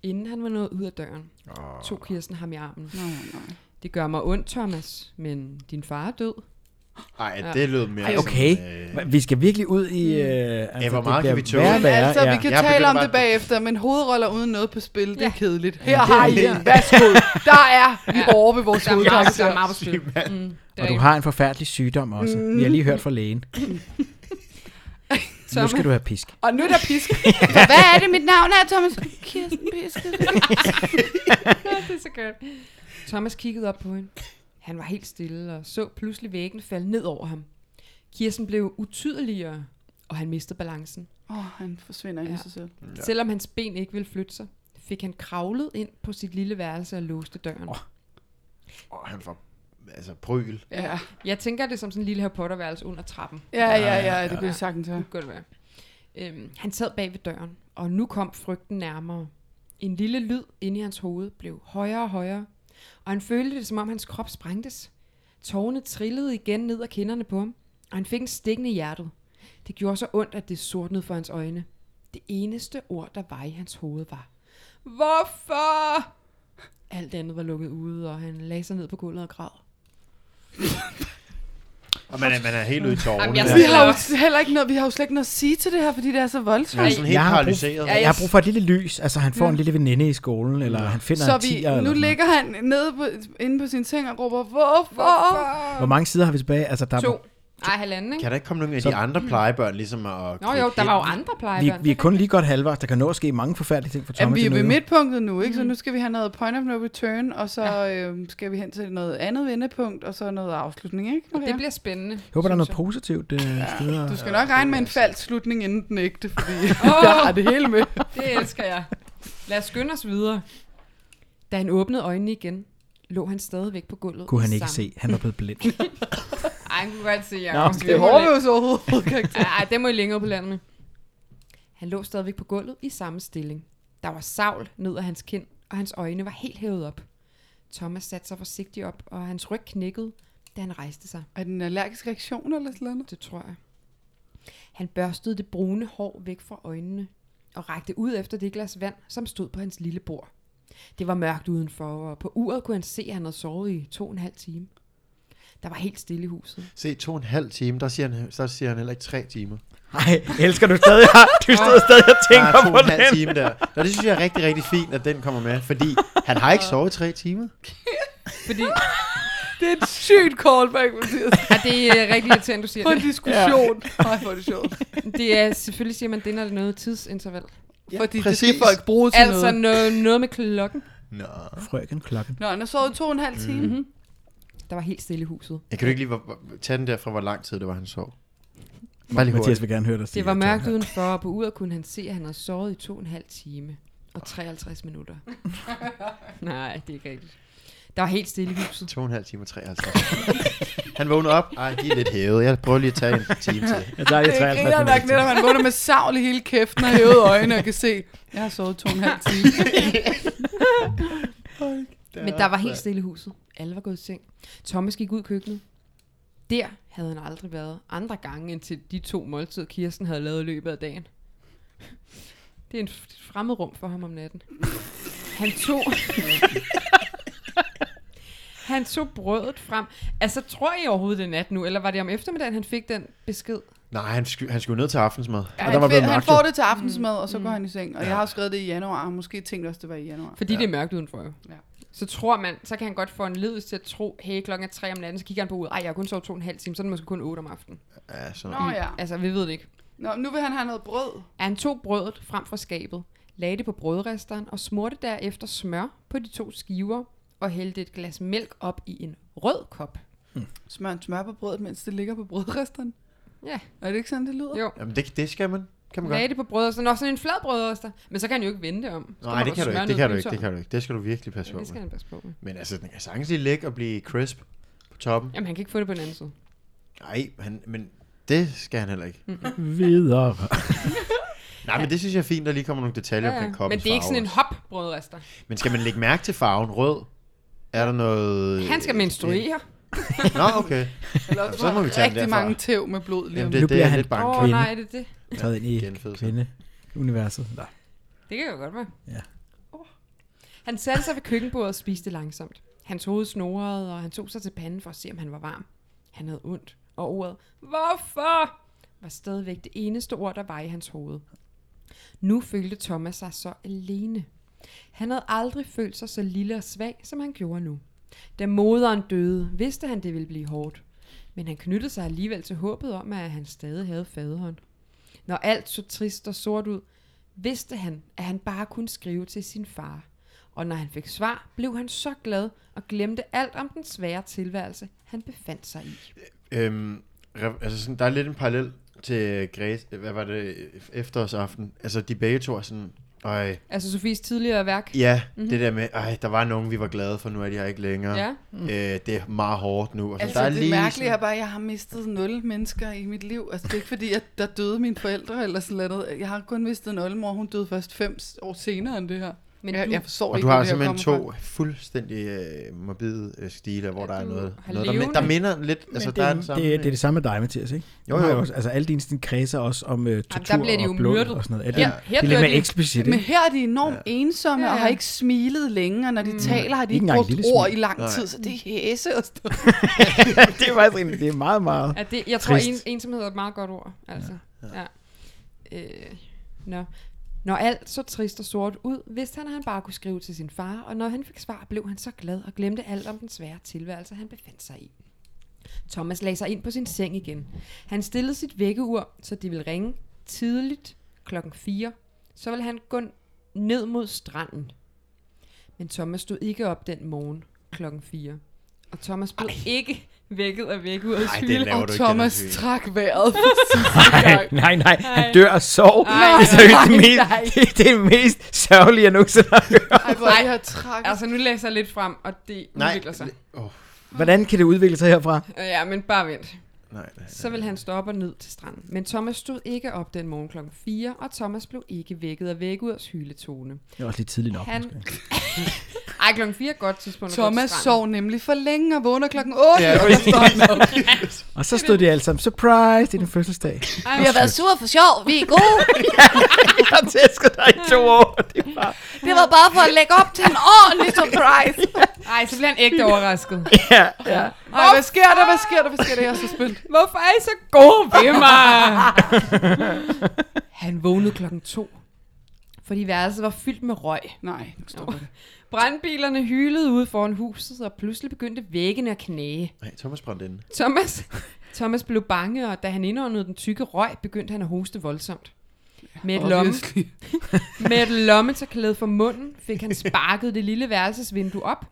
Speaker 2: Inden han var nået ud af døren, oh. tog Kirsten ham i armen.
Speaker 4: Nå, nej.
Speaker 2: Det gør mig ondt, Thomas, men din far er død.
Speaker 3: Ej, det lød mere
Speaker 5: Ej, okay.
Speaker 3: Som, øh,
Speaker 5: Vi skal virkelig ud i... Øh, altså,
Speaker 3: hvor meget
Speaker 5: det
Speaker 3: kan
Speaker 5: bliver
Speaker 3: vi tåle?
Speaker 5: værre og
Speaker 4: Men
Speaker 5: værre,
Speaker 4: altså, vi kan
Speaker 3: Jeg
Speaker 4: tale
Speaker 3: begynder
Speaker 4: om
Speaker 3: bare-
Speaker 4: det bagefter, men hovedroller uden noget på spil, det er
Speaker 2: Ja.
Speaker 4: kedeligt. Her har I en, værsgo. Der er vi
Speaker 2: Ja.
Speaker 4: over ved vores
Speaker 2: Der er meget, der
Speaker 4: hovedkarakter.
Speaker 2: er meget på spil. Mm, det
Speaker 5: Og
Speaker 2: er
Speaker 5: du har en forfærdelig sygdom også. Vi har lige hørt fra lægen.
Speaker 2: rigtigt.
Speaker 5: Nu
Speaker 2: Thomas-
Speaker 5: skal du have pisk.
Speaker 4: Og nu er der pisk. Hvad er det, mit navn er, Thomas? Kirsten Piske.
Speaker 2: det er så godt. Thomas kiggede op på hende. Han var helt stille og så pludselig væggen falde ned over ham. Kirsten blev utydeligere, og han mistede balancen.
Speaker 4: Åh, oh, han forsvinder ind i sig selv.
Speaker 2: Ja. Selvom hans ben ikke ville flytte sig, fik han kravlet ind på sit lille værelse og låste døren. Oh.
Speaker 3: Åh, han får altså pryl.
Speaker 4: Ja,
Speaker 2: Jeg tænker det som sådan en lille Harry Potter-værelse under trappen.
Speaker 4: ja, ja, ja, det kunne jeg sagtens
Speaker 2: Ja.
Speaker 4: høre.
Speaker 2: Det kunne godt være. Øhm, han sad bag ved døren, og nu kom frygten nærmere. En lille lyd inde i hans hoved blev højere og højere, og han følte det, som om hans krop sprængtes. Tårne trillede igen ned ad kinderne på ham, og han fik en stikkende i hjertet. Det gjorde så ondt, at det sortnede for hans øjne. Det eneste ord, der var i hans hoved, var Hvorfor? Alt andet var lukket ude, og han lagde sig ned på gulvet og græd.
Speaker 3: Og man er, man er helt ude i tårerne.
Speaker 2: Jamen, jeg
Speaker 3: Ja.
Speaker 4: Vi
Speaker 2: Ja.
Speaker 4: har jo s- heller ikke noget, vi har jo slet ikke noget at sige til det her, fordi det er så voldsomt.
Speaker 3: Man er sådan helt
Speaker 5: Jeg har brug-
Speaker 3: paralyseret.
Speaker 2: Ja,
Speaker 5: Jeg har brug for et lille lys. Altså, han får
Speaker 4: Ja.
Speaker 5: en lille veninde i skolen, eller han finder
Speaker 4: Så
Speaker 5: en tiger.
Speaker 4: vi,
Speaker 5: eller
Speaker 4: nu
Speaker 5: sådan noget.
Speaker 4: ligger han nede på, inde på sin seng og råber, hvorfor?
Speaker 5: Hvor mange sider har vi tilbage? Altså, der,
Speaker 2: To. Ej, halvanden, ikke?
Speaker 3: Kan der ikke komme nogen af
Speaker 5: Så-
Speaker 3: de andre plejebørn ligesom at...
Speaker 2: Nå jo, der var jo andre
Speaker 5: vi,
Speaker 2: plejebørn.
Speaker 5: vi er kun lige godt halvvejs. Der kan nå at ske mange forfærdelige ting for
Speaker 4: Jamen,
Speaker 5: Tommy
Speaker 4: vi er
Speaker 5: til
Speaker 4: ved
Speaker 5: noget.
Speaker 4: midtpunktet nu, ikke? Så nu skal vi have noget point of no return, og så Mm. ja. øhm, skal vi hen til noget andet vendepunkt, og så noget afslutning, ikke?
Speaker 2: Det bliver spændende.
Speaker 5: Jeg håber, der er noget
Speaker 2: synes
Speaker 5: positivt. Øh, ja,
Speaker 4: Du skal nok regne med en falsk slutning inden den ægte, fordi
Speaker 2: Åh!
Speaker 4: jeg har det hele med.
Speaker 2: jeg. Det elsker jeg. Lad os skynde os videre. Da han åbnede øjnene igen, lå han stadigvæk på gulvet.
Speaker 5: kunne han ikke
Speaker 2: sammen.
Speaker 5: se. Han var blevet blind.
Speaker 2: Ej, han kunne godt se, jeg.
Speaker 5: Nå,
Speaker 4: Det håber vi jo så overhovedet ikke.
Speaker 2: Ej, det må I længere på landet med. Han lå stadigvæk på gulvet i samme stilling. Der var savl ned af hans kind, og hans øjne var helt hævet op. Thomas satte sig forsigtigt op, og hans ryg knækkede, da han rejste sig.
Speaker 4: Er det en allergisk reaktion eller sådan noget?
Speaker 2: Det tror jeg. Han børstede det brune hår væk fra øjnene og rakte ud efter det glas vand, som stod på hans lille bord. Det var mørkt udenfor, og på uret kunne han se, at han havde sovet i to og en halv time. Der var helt stille i huset.
Speaker 3: Se, to og en halv time, der siger han, så siger han heller ikke tre timer.
Speaker 5: Nej, elsker du stadig? Du sidder stadig og
Speaker 3: Der er
Speaker 5: tænker
Speaker 3: to
Speaker 5: på
Speaker 3: og en halv
Speaker 5: den.
Speaker 3: time der. Nå, det synes jeg er rigtig, rigtig fint, at den kommer med, fordi han har ikke sovet tre timer.
Speaker 2: Fordi
Speaker 4: Det er et sygt callback, Mathias.
Speaker 2: ja, det er rigtig irriterende, du siger
Speaker 4: På en
Speaker 2: det.
Speaker 4: diskussion. Nej, hvor er det sjovt.
Speaker 2: Det er selvfølgelig siger man, det er noget tidsinterval.
Speaker 4: Fordi det skal
Speaker 3: præcis.
Speaker 4: folk bruge til
Speaker 2: Altså
Speaker 4: noget.
Speaker 2: noget, noget med klokken.
Speaker 3: Nå.
Speaker 5: Frøken klokken.
Speaker 4: Nå, han har sovet to og en halv time. Mm-hmm.
Speaker 2: Der var helt stille i huset.
Speaker 3: Jeg kan du ikke lige hvor- hvor- tage den der fra, hvor lang tid det var, han sov? Bare lige
Speaker 5: Mathias
Speaker 3: hurtigt.
Speaker 5: vil gerne høre dig sige.
Speaker 2: Det var
Speaker 5: at
Speaker 2: mørkt
Speaker 5: Tom-
Speaker 2: udenfor, og på uret kunne han se, at han havde sovet i to og en halv time og 53 minutter. Nej, det er ikke rigtigt. Der var helt stille i huset.
Speaker 3: To og en halv time og 53. han vågner op. Ej, de er lidt hævet. Jeg prøver lige at tage en time til.
Speaker 5: Jeg tager lige
Speaker 4: Det er
Speaker 5: 53
Speaker 4: griner nok
Speaker 5: minutter.
Speaker 4: netop, han vågner med savl i hele kæften og hævede øjnene og kan se, jeg har sovet to og en halv time.
Speaker 2: Men der var helt stille i huset. Alle var gået i seng. Thomas gik ud i køkkenet. Der havde han aldrig været andre gange, end til de to måltider, Kirsten havde lavet i løbet af dagen. Det er en f- et fremmed rum for ham om natten. Han tog... han tog brødet frem. Altså, tror I overhovedet det er nat nu? Eller var det om eftermiddagen, han fik den besked?
Speaker 3: Nej, han, sky- han skulle ned til aftensmad.
Speaker 4: Ja,
Speaker 3: og der
Speaker 4: han,
Speaker 3: var blevet
Speaker 4: fe- han
Speaker 3: mørkt.
Speaker 4: får det til aftensmad, og så går han i seng. Og jeg har skrevet det i januar, og måske tænkte også, det var i januar.
Speaker 2: Fordi ja. det er mørkt udenfor jo.
Speaker 4: Ja.
Speaker 2: Ja. Så tror man, så kan han godt få en ledelse til at tro, hey, klokken er tre om natten, så kigger han på uret, ej, jeg har kun sovet to og en halv time, så er det måske kun otte om aftenen.
Speaker 3: jo. Ja, sådan.
Speaker 4: Nå ja.
Speaker 2: Altså, vi ved det ikke.
Speaker 4: Nå, nu vil han have noget brød.
Speaker 2: Han tog brødet frem fra skabet, lagde det på brødresteren og smurte derefter smør på de to skiver og hældte et glas mælk op i en rød kop.
Speaker 4: Smør en smør på brødet, mens det ligger på brødresteren.
Speaker 2: Ja,
Speaker 4: Er det ikke sådan, det lyder?
Speaker 2: jo.
Speaker 3: Jamen, det, det skal man. Kan man
Speaker 2: Lagde
Speaker 3: godt.
Speaker 2: det på brødresteren. Nå, sådan en flad brødrester. Men så kan han jo ikke vende det om. Så
Speaker 3: Nej,
Speaker 2: må
Speaker 3: det kan du
Speaker 2: smøre
Speaker 3: ikke.
Speaker 2: noget
Speaker 3: Det kan du ikke. Det
Speaker 2: pølser.
Speaker 3: kan du ikke. Det skal du virkelig passe på
Speaker 2: Ja, det skal
Speaker 3: med.
Speaker 2: han passe på med.
Speaker 3: Men altså, den kan sagtens lige ligge og blive crisp på toppen.
Speaker 2: Jamen, han kan ikke få det på den anden side.
Speaker 3: Nej, han, men det skal han heller ikke.
Speaker 5: Videre.
Speaker 3: Nej, men det synes jeg er fint, der lige kommer nogle detaljer ja,
Speaker 2: Ja, ja.
Speaker 3: omkring
Speaker 2: Men
Speaker 3: koppens
Speaker 2: det er ikke sådan en
Speaker 3: farve.
Speaker 2: hop brødrester.
Speaker 3: Men skal man lægge mærke til farven rød? Er der noget...
Speaker 2: Han skal menstruere.
Speaker 3: Nå, okay.
Speaker 4: Eller også
Speaker 3: Så må
Speaker 4: får han
Speaker 3: vi tage den
Speaker 4: rigtig
Speaker 3: derfra.
Speaker 4: mange tæv med blod lige om lidt.
Speaker 3: Jamen, det,
Speaker 5: Nu
Speaker 3: det, det er
Speaker 5: bliver
Speaker 3: jeg
Speaker 5: han-
Speaker 3: lidt bange
Speaker 2: Åh,
Speaker 3: for.
Speaker 2: oh,
Speaker 5: kvinde.
Speaker 2: nej, det er det.
Speaker 5: Taget ind i
Speaker 3: Genfødsel.
Speaker 5: kvindeuniverset. Nå.
Speaker 2: Det kan jo godt være.
Speaker 5: Ja.
Speaker 2: Åh. Han satte sig ved køkkenbordet og spiste langsomt. Hans hoved snorede, og han tog sig til panden for at se, om han var varm. Han havde ondt, og ordet Hvorfor? var stadigvæk det eneste ord, der var i hans hoved. Nu følte Thomas sig så alene. Han havde aldrig følt sig så lille og svag, som han gjorde nu. Da moderen døde, vidste han, det ville blive hårdt. Men han knyttede sig alligevel til håbet om, at han stadig havde faderhånd. Når alt så trist og sort ud, vidste han, at han bare kunne skrive til sin far. Og når han fik svar, blev han så glad og glemte alt om den svære tilværelse, han befandt sig i.
Speaker 3: Øhm, re- altså sådan, der er lidt en parallel til Græs, hvad var det, efterårsaften. Altså, de begge to er sådan, øj,
Speaker 2: Altså Sofies tidligere værk.
Speaker 3: ja, mm-hmm. det der med, øj, der var nogen, vi var glade for, nu er de her ikke længere.
Speaker 2: Mhm. Ja.
Speaker 3: Mm. Øh, det er meget hårdt nu. Og sådan,
Speaker 4: Altså,
Speaker 3: der er
Speaker 4: det
Speaker 3: lige
Speaker 4: mærkelige er
Speaker 3: sådan,
Speaker 4: bare, at jeg har mistet nul mennesker i mit liv. Altså, det er ikke fordi, at der døde mine forældre eller sådan noget. Jeg har kun mistet en oldemor. Hun døde først fem s- år senere end det her.
Speaker 2: Men
Speaker 4: Jeg,
Speaker 2: du,
Speaker 4: jeg forstår
Speaker 3: Og
Speaker 4: ikke,
Speaker 3: du har
Speaker 4: hvor det her
Speaker 3: simpelthen
Speaker 4: kommer
Speaker 3: to fuldstændig øh, morbide øh, stile, hvor der er
Speaker 2: Du
Speaker 3: noget,
Speaker 2: har
Speaker 3: noget der, mi-
Speaker 2: levende.
Speaker 3: der minder lidt. Altså,
Speaker 5: det,
Speaker 3: der er en
Speaker 5: det, det,
Speaker 3: sammenhæng.
Speaker 5: det er det samme med dig, Mathias, ikke?
Speaker 3: Jo,
Speaker 5: Du har
Speaker 3: jo.
Speaker 5: Også, altså alle dine sådan, kredser også om øh, tortur
Speaker 2: der bliver de jo
Speaker 5: og blod
Speaker 2: myrdet.
Speaker 5: og sådan noget.
Speaker 2: her,
Speaker 5: det,
Speaker 2: her
Speaker 5: det er lidt
Speaker 2: dør
Speaker 5: mere
Speaker 2: de.
Speaker 5: eksplicit,
Speaker 4: Men
Speaker 5: ikke?
Speaker 4: her er de enormt ja. ensomme
Speaker 2: Ja,
Speaker 4: ja,
Speaker 2: ja.
Speaker 4: og har ikke smilet længe, og når de mm. taler, har de
Speaker 5: Ikke
Speaker 4: ikke
Speaker 5: engang et
Speaker 4: brugt
Speaker 5: lille
Speaker 4: ord i
Speaker 5: smil.
Speaker 4: lang
Speaker 3: Nej.
Speaker 4: tid, så det er hæse og sådan
Speaker 5: det er faktisk en- det er meget, meget...
Speaker 2: at det, jeg tror,
Speaker 5: Trist.
Speaker 2: en, ensomhed er et meget godt ord. Altså. Ja. ja. Øh, nå. Når alt så trist og sort ud, vidste han, at han bare kunne skrive til sin far, og når han fik svar, blev han så glad og glemte alt om den svære tilværelse, han befandt sig i. Thomas lagde sig ind på sin seng igen. Han stillede sit vækkeur, så det ville ringe tidligt klokken 4. Så ville han gå ned mod stranden. Men Thomas stod ikke op den morgen klokken 4. Og Thomas blev Ej. ikke vækket af vækkeurets
Speaker 3: Ej, det
Speaker 2: hylde.
Speaker 4: noget.
Speaker 3: laver
Speaker 4: Og
Speaker 3: du ikke,
Speaker 4: Thomas
Speaker 3: Kenneth Høegh.
Speaker 4: trak vejret for sidste gang.
Speaker 5: Nej, nej,
Speaker 2: Ej.
Speaker 5: han dør af sorg.
Speaker 2: Ej,
Speaker 5: Det er seriøst det
Speaker 4: nej,
Speaker 5: mest,
Speaker 4: nej.
Speaker 5: det, det er det mest sørgelige, jeg nogensinde har hørt.
Speaker 4: Ej, hvor er det her trak.
Speaker 2: Altså, nu læser jeg lidt frem, og det
Speaker 3: Nej,
Speaker 2: udvikler sig.
Speaker 3: Åh,
Speaker 5: Hvordan kan det udvikle sig herfra?
Speaker 2: Øh, Ja, men bare vent.
Speaker 3: nej, nej.
Speaker 2: Så vil han stoppe og ned til stranden. Men Thomas stod ikke op den morgen klokken 4, og Thomas blev ikke vækket af vækkeurs hyletone.
Speaker 5: Det er også lidt tidligt nok,
Speaker 2: Han-
Speaker 5: måske.
Speaker 2: Ej, klokken 4 er et godt tidspunkt. at gå til
Speaker 4: Thomas
Speaker 2: stranden.
Speaker 4: sov nemlig for længe og vågner klokken 8. Ja,
Speaker 5: Og så stod de alle sammen, surprise, det er din fødselsdag.
Speaker 2: Ej,
Speaker 1: Vi har været sure for sjov. Vi er gode.
Speaker 5: Jeg har tæsket dig i to år. Det er bare...
Speaker 1: Det var bare for at lægge op til en ordentlig surprise.
Speaker 2: Ej, så bliver han ægte overrasket.
Speaker 5: Ja, ja.
Speaker 4: Ej, hvad sker der? Hvad sker der? Hvad sker der? Jeg er så spændt.
Speaker 2: Hvorfor er I så gode ved mig? han vågnede klokken 2, fordi værelset var fyldt med røg.
Speaker 4: Nej, nu stopper det.
Speaker 2: Brandbilerne hylede ude foran huset, og pludselig begyndte væggene at knage.
Speaker 3: Nej, Thomas brændte inde.
Speaker 2: Thomas, Thomas blev bange, og da han indåndede den tykke røg, begyndte han at hoste voldsomt. Med et, lomme,
Speaker 4: Obviously.
Speaker 2: med et lommetaklæde for munden fik han sparket det lille værelsesvindue op,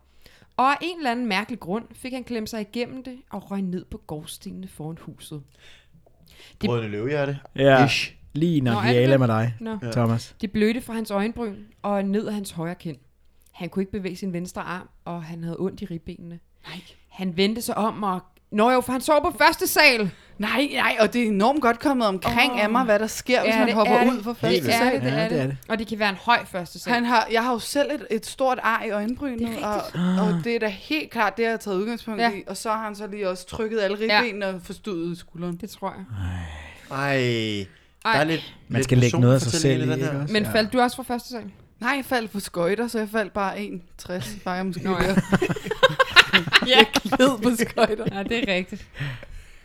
Speaker 2: og af en eller anden mærkelig grund fik han klemt sig igennem det og røg ned på gårdstenene foran huset. Det-
Speaker 3: Brødende løvehjerte.
Speaker 5: ja.
Speaker 3: Ish.
Speaker 5: Lige når
Speaker 2: Nå,
Speaker 5: vi
Speaker 2: er det
Speaker 5: er
Speaker 2: det?
Speaker 5: med dig,
Speaker 2: Nå.
Speaker 5: ja. Thomas.
Speaker 2: Det blødte fra hans øjenbryn og ned af hans højre kind. Han kunne ikke bevæge sin venstre arm, og han havde ondt i ribbenene. Nej. Han vendte sig om og... Nå jo, for han sov på første sal!
Speaker 4: Nej, nej, og det er enormt godt kommet omkring
Speaker 2: Åh.
Speaker 4: oh. af mig, hvad der sker, hvis
Speaker 2: Ja,
Speaker 4: man
Speaker 2: det
Speaker 4: hopper
Speaker 2: er det.
Speaker 4: ud fra
Speaker 3: Helt
Speaker 4: første
Speaker 3: vildt.
Speaker 4: sal.
Speaker 5: det er det.
Speaker 2: Og det kan være en høj første sal.
Speaker 4: Han har, jeg har jo selv et, et stort ar i øjenbrynet, og, og det er da helt klart det, jeg har taget udgangspunkt
Speaker 2: Ja.
Speaker 4: ja. i. Og så har han så lige også trykket alle ribbenene ja. og forstudet skulderen.
Speaker 2: Det tror jeg.
Speaker 3: Ej. Der er lidt,
Speaker 5: Man
Speaker 3: lidt
Speaker 5: skal lægge noget af sig
Speaker 3: personfortælling i
Speaker 5: selv
Speaker 3: den
Speaker 5: i,
Speaker 3: her.
Speaker 5: ikke også?
Speaker 2: Men
Speaker 5: Ja.
Speaker 2: faldt du også fra første sal?
Speaker 4: Nej, jeg faldt på skøjter, så jeg faldt bare 1,60. Var jeg måske
Speaker 2: Nå ja.
Speaker 4: Nå, ja.
Speaker 2: Ja,
Speaker 4: ned på skøjter.
Speaker 2: ja det er rigtigt.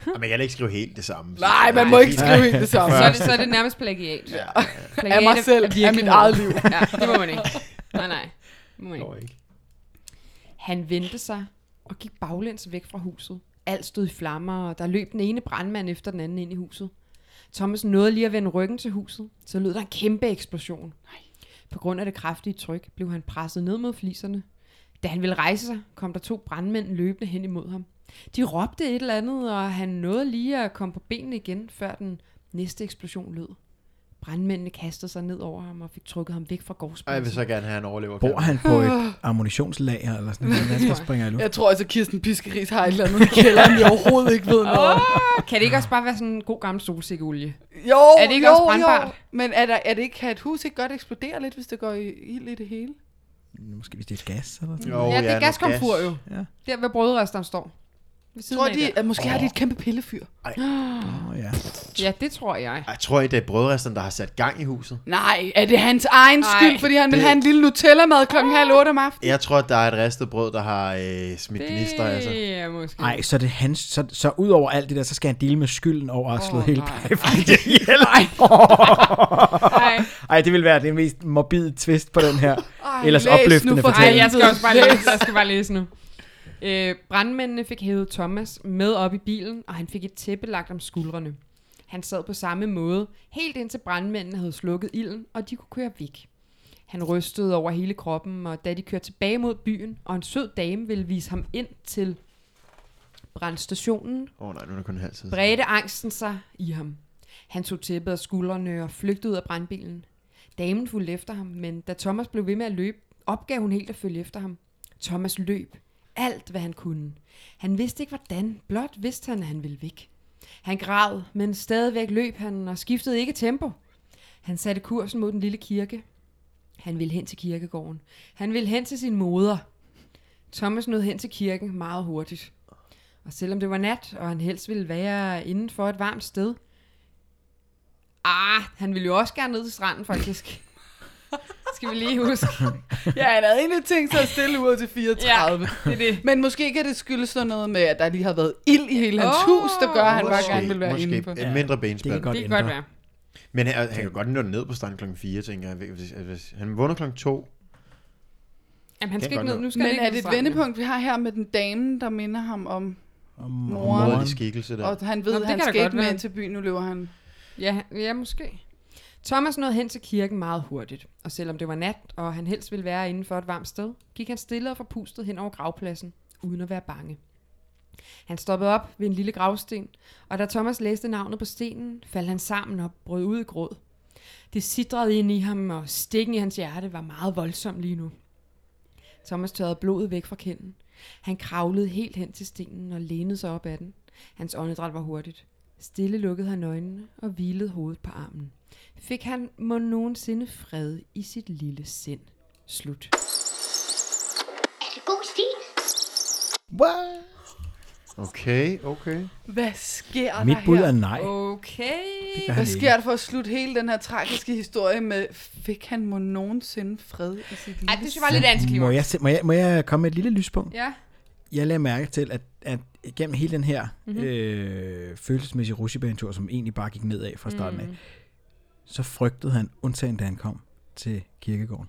Speaker 3: Og man kan heller ikke skrive helt det samme.
Speaker 4: Nej, man
Speaker 3: Nej.
Speaker 4: må ikke skrive helt det samme.
Speaker 2: Så er det, så er det nærmest plagiat. Ja. plagiat
Speaker 4: Af mig selv, af mit
Speaker 2: virkeligheden.
Speaker 4: eget liv.
Speaker 2: Ja, det må man ikke. Nej, nej. Det Må man ikke.
Speaker 3: ikke.
Speaker 2: Han vendte sig og gik baglæns væk fra huset. Alt stod i flammer, og der løb den ene brandmand efter den anden ind i huset. Thomas nåede lige at vende ryggen til huset, så lød der en kæmpe eksplosion. På grund af det kraftige tryk blev han presset ned mod fliserne. Da han ville rejse sig, kom der to brandmænd løbende hen imod ham. De råbte et eller andet, og han nåede lige at komme på benene igen, før den næste eksplosion lød. Brandmændene kastede sig ned over ham og fik trukket ham væk fra
Speaker 3: Ej, jeg
Speaker 2: gårdspladsen.
Speaker 3: vil så gerne have en overlever.
Speaker 5: Bor han på et ammunitionslager eller sådan noget? Hvad der springer i luften?
Speaker 4: Jeg tror altså, Kirsten Piskeris har et eller andet i kælderen, jeg overhovedet ikke ved noget om.
Speaker 2: Kan det ikke også bare være sådan en god gammel solsikkeolie?
Speaker 4: Jo,
Speaker 2: Er det ikke
Speaker 4: jo,
Speaker 2: også brandbart?
Speaker 4: Jo. Men er, der, er det ikke, kan et hus ikke godt eksplodere lidt, hvis det går i ild i det hele?
Speaker 5: Måske hvis det er gas eller sådan
Speaker 3: Jo,
Speaker 5: noget.
Speaker 2: ja, det er
Speaker 3: noget
Speaker 2: gaskomfur
Speaker 3: gas.
Speaker 2: jo.
Speaker 5: Ja.
Speaker 2: Der ved brødresteren står. Ved siden
Speaker 4: Tror
Speaker 2: af
Speaker 4: de,
Speaker 2: der.
Speaker 4: at måske har de et kæmpe pillefyr?
Speaker 5: Nå, ja.
Speaker 2: Ja, det tror jeg.
Speaker 3: Jeg tror ikke, det er brødresteren, der har sat gang i huset.
Speaker 4: Nej, Ah. er det hans egen
Speaker 2: Nej,
Speaker 4: skyld, fordi han vil
Speaker 3: det-
Speaker 4: have en lille Nutella-mad klokken halv otte om aftenen?
Speaker 3: Jeg tror, der er et ristet brød, der har øh, smidt gnister. Altså.
Speaker 2: Det er måske.
Speaker 5: Ej, så, er det hans, så, så ud over alt det der, så skal han dele med skylden over at slå
Speaker 2: Åh,
Speaker 5: oh, hele
Speaker 2: nej.
Speaker 5: plejefamilien ihjel. Ej.
Speaker 2: Ej,
Speaker 5: Ej, det vil være det mest morbide twist på den her.
Speaker 4: Ej,
Speaker 5: Ellers
Speaker 4: læs nu
Speaker 5: opløftende
Speaker 4: for
Speaker 2: Ej
Speaker 5: fortælling.
Speaker 2: jeg skal også bare læse. Jeg skal bare læse nu. Øh, brandmændene fik hævet Thomas med op i bilen, og han fik et tæppe lagt om skuldrene. Han sad på samme måde, helt indtil brandmændene havde slukket ilden, og de kunne køre væk. Han rystede over hele kroppen, og da de kørte tilbage mod byen, og en sød dame ville vise ham ind til brandstationen,
Speaker 3: Åh oh, nej, nu er der kun en halv tid.
Speaker 2: bredte angsten sig i ham. Han tog tæppet af skuldrene og flygtede ud af brandbilen. Damen fulgte efter ham, men da Thomas blev ved med at løbe, opgav hun helt at følge efter ham. Thomas løb. Alt, hvad han kunne. Han vidste ikke hvordan, blot vidste han, at han ville væk. Han græd, men stadigvæk løb han og skiftede ikke tempo. Han satte kursen mod den lille kirke. Han ville hen til kirkegården. Han ville hen til sin moder. Thomas nåede hen til kirken meget hurtigt. Og selvom det var nat, og han helst ville være inden for et varmt sted, ah, han ville jo også gerne ned til stranden faktisk. Skal vi lige huske.
Speaker 4: Ja, han havde egentlig tænkt sig at stille uret til 34. Ja.
Speaker 2: Det er det.
Speaker 4: Men måske kan det skyldes sådan noget med, at der lige har været ild i hele hans
Speaker 2: Åh,
Speaker 4: hus, der gør, at han bare
Speaker 3: Måske,
Speaker 4: gerne vil være inde på.
Speaker 3: Måske et mindre
Speaker 5: Det
Speaker 3: benspænd.
Speaker 5: kan godt
Speaker 2: Det kan
Speaker 5: ændre.
Speaker 2: godt være.
Speaker 3: Men han, han kan godt nå ned på stranden klokken 4, tænker jeg. Hvis, hvis, han vågner klokken 2.
Speaker 2: Jamen, han
Speaker 3: Det
Speaker 2: skal
Speaker 3: kan
Speaker 2: ikke ned.
Speaker 3: godt være.
Speaker 2: Nu skal han
Speaker 4: Men
Speaker 2: ikke
Speaker 4: er det
Speaker 2: ned til
Speaker 4: et
Speaker 2: stranden.
Speaker 4: vendepunkt, vi har her med den dame, der minder ham om
Speaker 5: Om
Speaker 4: Moren.
Speaker 3: Morderlig
Speaker 5: morgenen.
Speaker 3: skikkelse der.
Speaker 4: Og han ved,
Speaker 2: Nå,
Speaker 4: Nå, at
Speaker 2: men det
Speaker 4: han
Speaker 2: kan da
Speaker 4: skal
Speaker 2: godt
Speaker 4: ikke med
Speaker 2: være.
Speaker 4: ind til byen, nu løber han.
Speaker 2: Ja, ja, måske. Thomas nåede hen til kirken meget hurtigt, og selvom det var nat, og han helst ville være inden for et varmt sted, gik han stille og forpustet hen over gravpladsen, uden at være bange. Han stoppede op ved en lille gravsten, og da Thomas læste navnet på stenen, faldt han sammen og brød ud i gråd. Det sidrede ind i ham, og stikken i hans hjerte var meget voldsom lige nu. Thomas tørrede blodet væk fra kinden. Han kravlede helt hen til stenen og lænede sig op ad den. Hans åndedræt var hurtigt. Stille lukkede han øjnene og hvilede hovedet på armen. Fik han må nogensinde fred i sit lille sind. Slut.
Speaker 7: God stil.
Speaker 3: Okay, okay.
Speaker 4: Hvad sker der
Speaker 5: Mit bud
Speaker 4: her?
Speaker 5: er nej.
Speaker 2: Okay.
Speaker 5: gør
Speaker 4: Hvad
Speaker 5: han ikke.
Speaker 4: sker der for at slutte hele den her tragiske historie med, fik han må nogensinde fred i sit liv?
Speaker 2: Ej, det synes jeg var lidt
Speaker 5: Må
Speaker 2: antiklimaks.
Speaker 5: jeg, se- må, jeg, må jeg komme med et lille lyspunkt?
Speaker 2: Ja.
Speaker 5: Jeg lagde mærke til, at, at gennem hele den her
Speaker 4: Mhm.
Speaker 5: mm-hmm. øh, følelsesmæssige rusjebanetur, som egentlig bare gik nedad fra starten af, mm. så frygtede han, undtagen da han kom til kirkegården.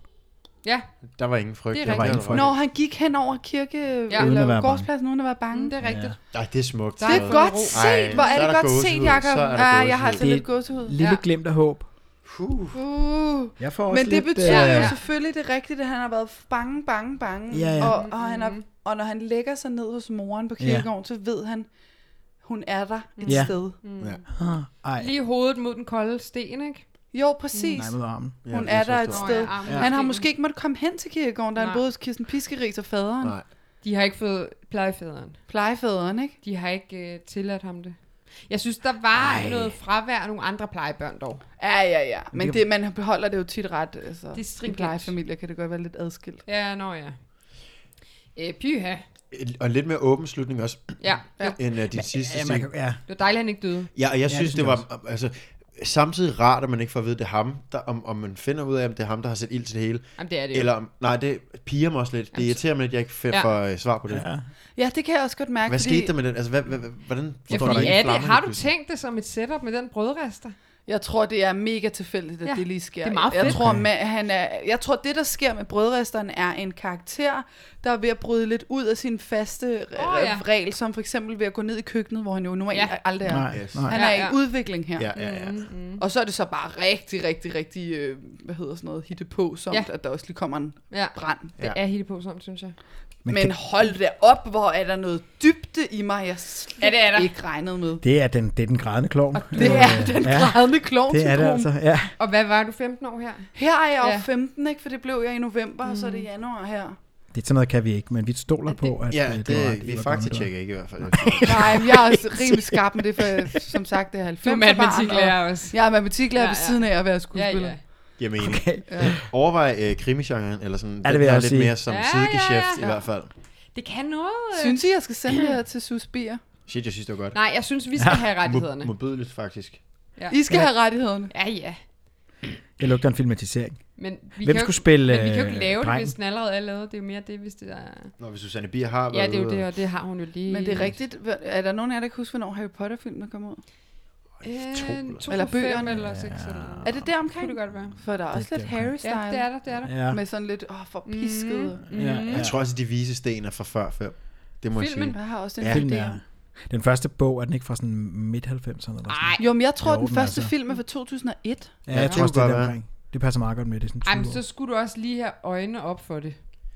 Speaker 2: Ja,
Speaker 3: Der var ingen frygt.
Speaker 2: Det er
Speaker 3: Der var
Speaker 5: rigtigt.
Speaker 3: ingen frygt.
Speaker 4: Når han gik hen over kirke ja.
Speaker 5: Uden at være
Speaker 4: eller
Speaker 5: bange.
Speaker 4: gårdspladsen uden at være bange.
Speaker 2: Mm, det er rigtigt. Ja.
Speaker 3: Nej, det er smukt.
Speaker 2: Der
Speaker 4: Det
Speaker 2: er
Speaker 4: er
Speaker 2: fået
Speaker 4: godt
Speaker 2: ro.
Speaker 4: set. Hvor
Speaker 3: Ej,
Speaker 4: er
Speaker 3: så
Speaker 4: det
Speaker 3: er der
Speaker 4: godt set,
Speaker 3: gåsehud.
Speaker 4: Jacob.
Speaker 3: Så er der
Speaker 4: Ah, jeg har altså
Speaker 5: gåsehud.
Speaker 4: lidt gåsehud.
Speaker 5: Lille
Speaker 2: Ja.
Speaker 5: glemt af håb.
Speaker 3: Puh.
Speaker 4: Uh.
Speaker 5: Jeg får
Speaker 4: Men det betyder
Speaker 5: øh,
Speaker 4: jo selvfølgelig det er rigtigt, at han har været bange, bange, bange.
Speaker 5: Ja, ja.
Speaker 4: Og, og, han er, og når han lægger sig ned hos moren på kirkegården, så ved han, hun er der et
Speaker 5: Ja.
Speaker 4: sted.
Speaker 3: Ja.
Speaker 5: ah, Ej,
Speaker 2: Lige hovedet mod den kolde sten, ikke?
Speaker 4: Jo, præcis.
Speaker 5: nej med armen.
Speaker 3: Ja,
Speaker 4: Hun
Speaker 3: det
Speaker 4: er
Speaker 3: så
Speaker 4: der et
Speaker 3: stort.
Speaker 2: Nå,
Speaker 4: sted.
Speaker 2: ja, armen
Speaker 4: Han har
Speaker 2: stenen.
Speaker 4: måske ikke måttet komme hen til kirkegården, da han
Speaker 2: Nej.
Speaker 4: boede hos Kirsten Piskeris og faderen.
Speaker 3: Nej.
Speaker 2: De har ikke fået plejefaderen.
Speaker 4: Plejefaderen, ikke?
Speaker 2: De har ikke øh, tilladt ham det. Jeg synes, der var Ej. noget fravær af nogle andre plejebørn dog.
Speaker 4: Ja, ja, ja. Men
Speaker 5: Det-
Speaker 4: det, man beholder det jo tit ret. Altså,
Speaker 2: Det er
Speaker 4: I
Speaker 2: stringent.
Speaker 4: plejefamilier kan det godt være lidt adskilt.
Speaker 2: Ja, nå ja. Øh, pyha.
Speaker 3: Og en lidt mere åben slutning også,
Speaker 2: Ja, ja.
Speaker 3: end uh, din sidste
Speaker 5: Ja, man
Speaker 3: ting.
Speaker 5: kan, ja.
Speaker 2: Det var dejligt, at han ikke døde.
Speaker 3: Ja, og jeg synes,
Speaker 5: det
Speaker 3: det, det
Speaker 5: synes
Speaker 3: var... Altså, samtidig rart, at man ikke får at vide, at det er ham, der, om, om man finder ud af, om det er ham, der har sat ild til det hele.
Speaker 2: Jamen, det er det jo.
Speaker 3: Eller om... Nej, det piger mig også lidt. Det irriterer mig, at jeg ikke f-
Speaker 2: Ja.
Speaker 3: får øh, svar på det.
Speaker 5: Ja.
Speaker 4: Ja, det kan jeg også godt mærke.
Speaker 3: Hvad
Speaker 4: fordi
Speaker 3: skete der med den? Altså, hvad, hvad, hvordan...
Speaker 2: Ja,
Speaker 3: hvorfor
Speaker 2: fordi
Speaker 3: ingen
Speaker 2: er det,
Speaker 3: flamme
Speaker 2: har
Speaker 3: lige
Speaker 2: du
Speaker 3: pludselig?
Speaker 2: tænkt det som et setup med den brødrester?
Speaker 4: Jeg tror, det er mega tilfældigt, at
Speaker 2: Ja,
Speaker 4: ja, det lige sker.
Speaker 2: det er meget
Speaker 4: Jeg
Speaker 2: fedt.
Speaker 4: tror, man, han er, jeg tror, det der sker med brødresteren er en karakter, der er ved at bryde lidt ud af sin faste
Speaker 2: Åh,
Speaker 4: oh,
Speaker 2: ja.
Speaker 4: ja. regel, som for eksempel ved at gå ned i køkkenet, hvor han jo normalt
Speaker 2: Ja.
Speaker 4: ja. aldrig er.
Speaker 5: Nej,
Speaker 3: Yes.
Speaker 5: nej.
Speaker 4: Han
Speaker 2: Ja,
Speaker 4: er
Speaker 2: ja.
Speaker 4: i udvikling her.
Speaker 3: Ja, ja,
Speaker 2: Mm.
Speaker 3: ja.
Speaker 4: Og så er det så bare rigtig, rigtig, rigtig, øh, hvad hedder sådan noget, hitte på, som
Speaker 2: Ja.
Speaker 4: ja. at der også lige kommer en
Speaker 2: Ja,
Speaker 4: brand.
Speaker 2: det er helt på som, synes jeg.
Speaker 5: Men
Speaker 4: Men,
Speaker 5: kan-
Speaker 4: Men hold da op, hvor er der noget dybde i mig, jeg slet
Speaker 2: Ja, det er der.
Speaker 4: ikke regnet med.
Speaker 5: Det er den, det er den grædende klovn. Øh,
Speaker 4: Det er den
Speaker 5: ja,
Speaker 4: grædende klovn
Speaker 5: det er det altså. Ja.
Speaker 2: Og hvad var du, 15 år her?
Speaker 4: Her er jeg jo
Speaker 2: Ja.
Speaker 4: 15, ikke? For det blev jeg i november, mm. og så er det januar her.
Speaker 5: Det er sådan noget, kan vi ikke, men vi stoler på, at øh,
Speaker 3: Ja,
Speaker 5: du har ret
Speaker 3: det,
Speaker 5: i,
Speaker 3: vi
Speaker 5: hvor
Speaker 3: faktisk
Speaker 5: gammel du er.
Speaker 3: tjekker ikke i hvert fald.
Speaker 4: Nej, men jeg er også rimelig skarp med det, for jeg- som sagt, det er 90
Speaker 2: Du er matematiklærer også.
Speaker 4: Jeg er matematiklærer
Speaker 2: Ja,
Speaker 4: ja, ja. ved
Speaker 2: ja.
Speaker 4: siden af at være
Speaker 2: Ja,
Speaker 4: skuespiller.
Speaker 2: ja.
Speaker 3: Giver mening.
Speaker 5: Okay.
Speaker 3: Overvej øh, krimigenren, eller sådan.
Speaker 5: det
Speaker 3: den
Speaker 5: vil jeg
Speaker 3: her
Speaker 5: også
Speaker 3: lidt
Speaker 5: sige.
Speaker 3: mere som
Speaker 2: Ja,
Speaker 3: ja,
Speaker 2: ja,
Speaker 3: sidegeschæft ja,
Speaker 2: ja.
Speaker 3: ja. i hvert fald.
Speaker 2: Det kan noget. øh.
Speaker 4: Synes I, jeg skal sende det her til Sus Bier?
Speaker 3: Shit, jeg synes, det var godt.
Speaker 2: Nej, jeg synes, vi skal have rettighederne.
Speaker 3: Mo- modbydeligt, faktisk.
Speaker 4: I skal have rettighederne.
Speaker 2: Ja, ja.
Speaker 5: Jeg lugter en filmatisering.
Speaker 2: Men vi, kan,
Speaker 5: Hvem
Speaker 2: jo
Speaker 5: skulle
Speaker 2: ikke-
Speaker 5: spille,
Speaker 2: men vi kan jo ikke
Speaker 5: øh,
Speaker 2: lave det,
Speaker 5: drengen?
Speaker 2: hvis den allerede er lavet. Det er jo mere det, hvis det er...
Speaker 3: Når vi Susanne Bier har
Speaker 2: Ja,
Speaker 3: været
Speaker 2: det er jo
Speaker 3: ude
Speaker 2: det,
Speaker 3: og-
Speaker 2: og det har hun jo lige...
Speaker 4: Men det er rigtigt. Hva- Er der nogen af jer, der kan huske, hvornår Harry Potter-filmen kom ud?
Speaker 2: Øh,
Speaker 3: To eller-
Speaker 4: Eller
Speaker 2: to eller bøger.
Speaker 4: bøgerne.
Speaker 2: Eller seks eller noget.
Speaker 4: Er det der omkring?
Speaker 2: Kan det godt være.
Speaker 4: For der er også
Speaker 5: Det er
Speaker 4: lidt
Speaker 5: der
Speaker 2: Ja,
Speaker 4: Harry-style.
Speaker 2: det er der, det er der.
Speaker 5: Ja.
Speaker 4: Med sådan lidt åh, forpisket. Mm.
Speaker 5: Ja,
Speaker 3: Jeg tror også, at de vise sten er fra før før. Det må
Speaker 2: Filmen.
Speaker 3: jeg sige.
Speaker 4: Jeg har også den
Speaker 5: ja.
Speaker 4: ja,
Speaker 5: Film,
Speaker 4: idé.
Speaker 5: ja. Den første bog, er den ikke fra sådan midt-90'erne? eller sådan
Speaker 2: Ej,
Speaker 4: Jo, men jeg tror,
Speaker 5: Jo,
Speaker 4: den
Speaker 5: men
Speaker 4: første
Speaker 5: altså.
Speaker 4: film er fra 2001.
Speaker 5: Ja, jeg
Speaker 3: det
Speaker 5: tror
Speaker 3: kunne
Speaker 5: også, det er
Speaker 3: godt
Speaker 5: der
Speaker 3: være.
Speaker 5: omkring. Det passer meget godt med, det er sådan 20
Speaker 2: Ej, men så
Speaker 5: år.
Speaker 2: skulle du også lige have øjnene op for det.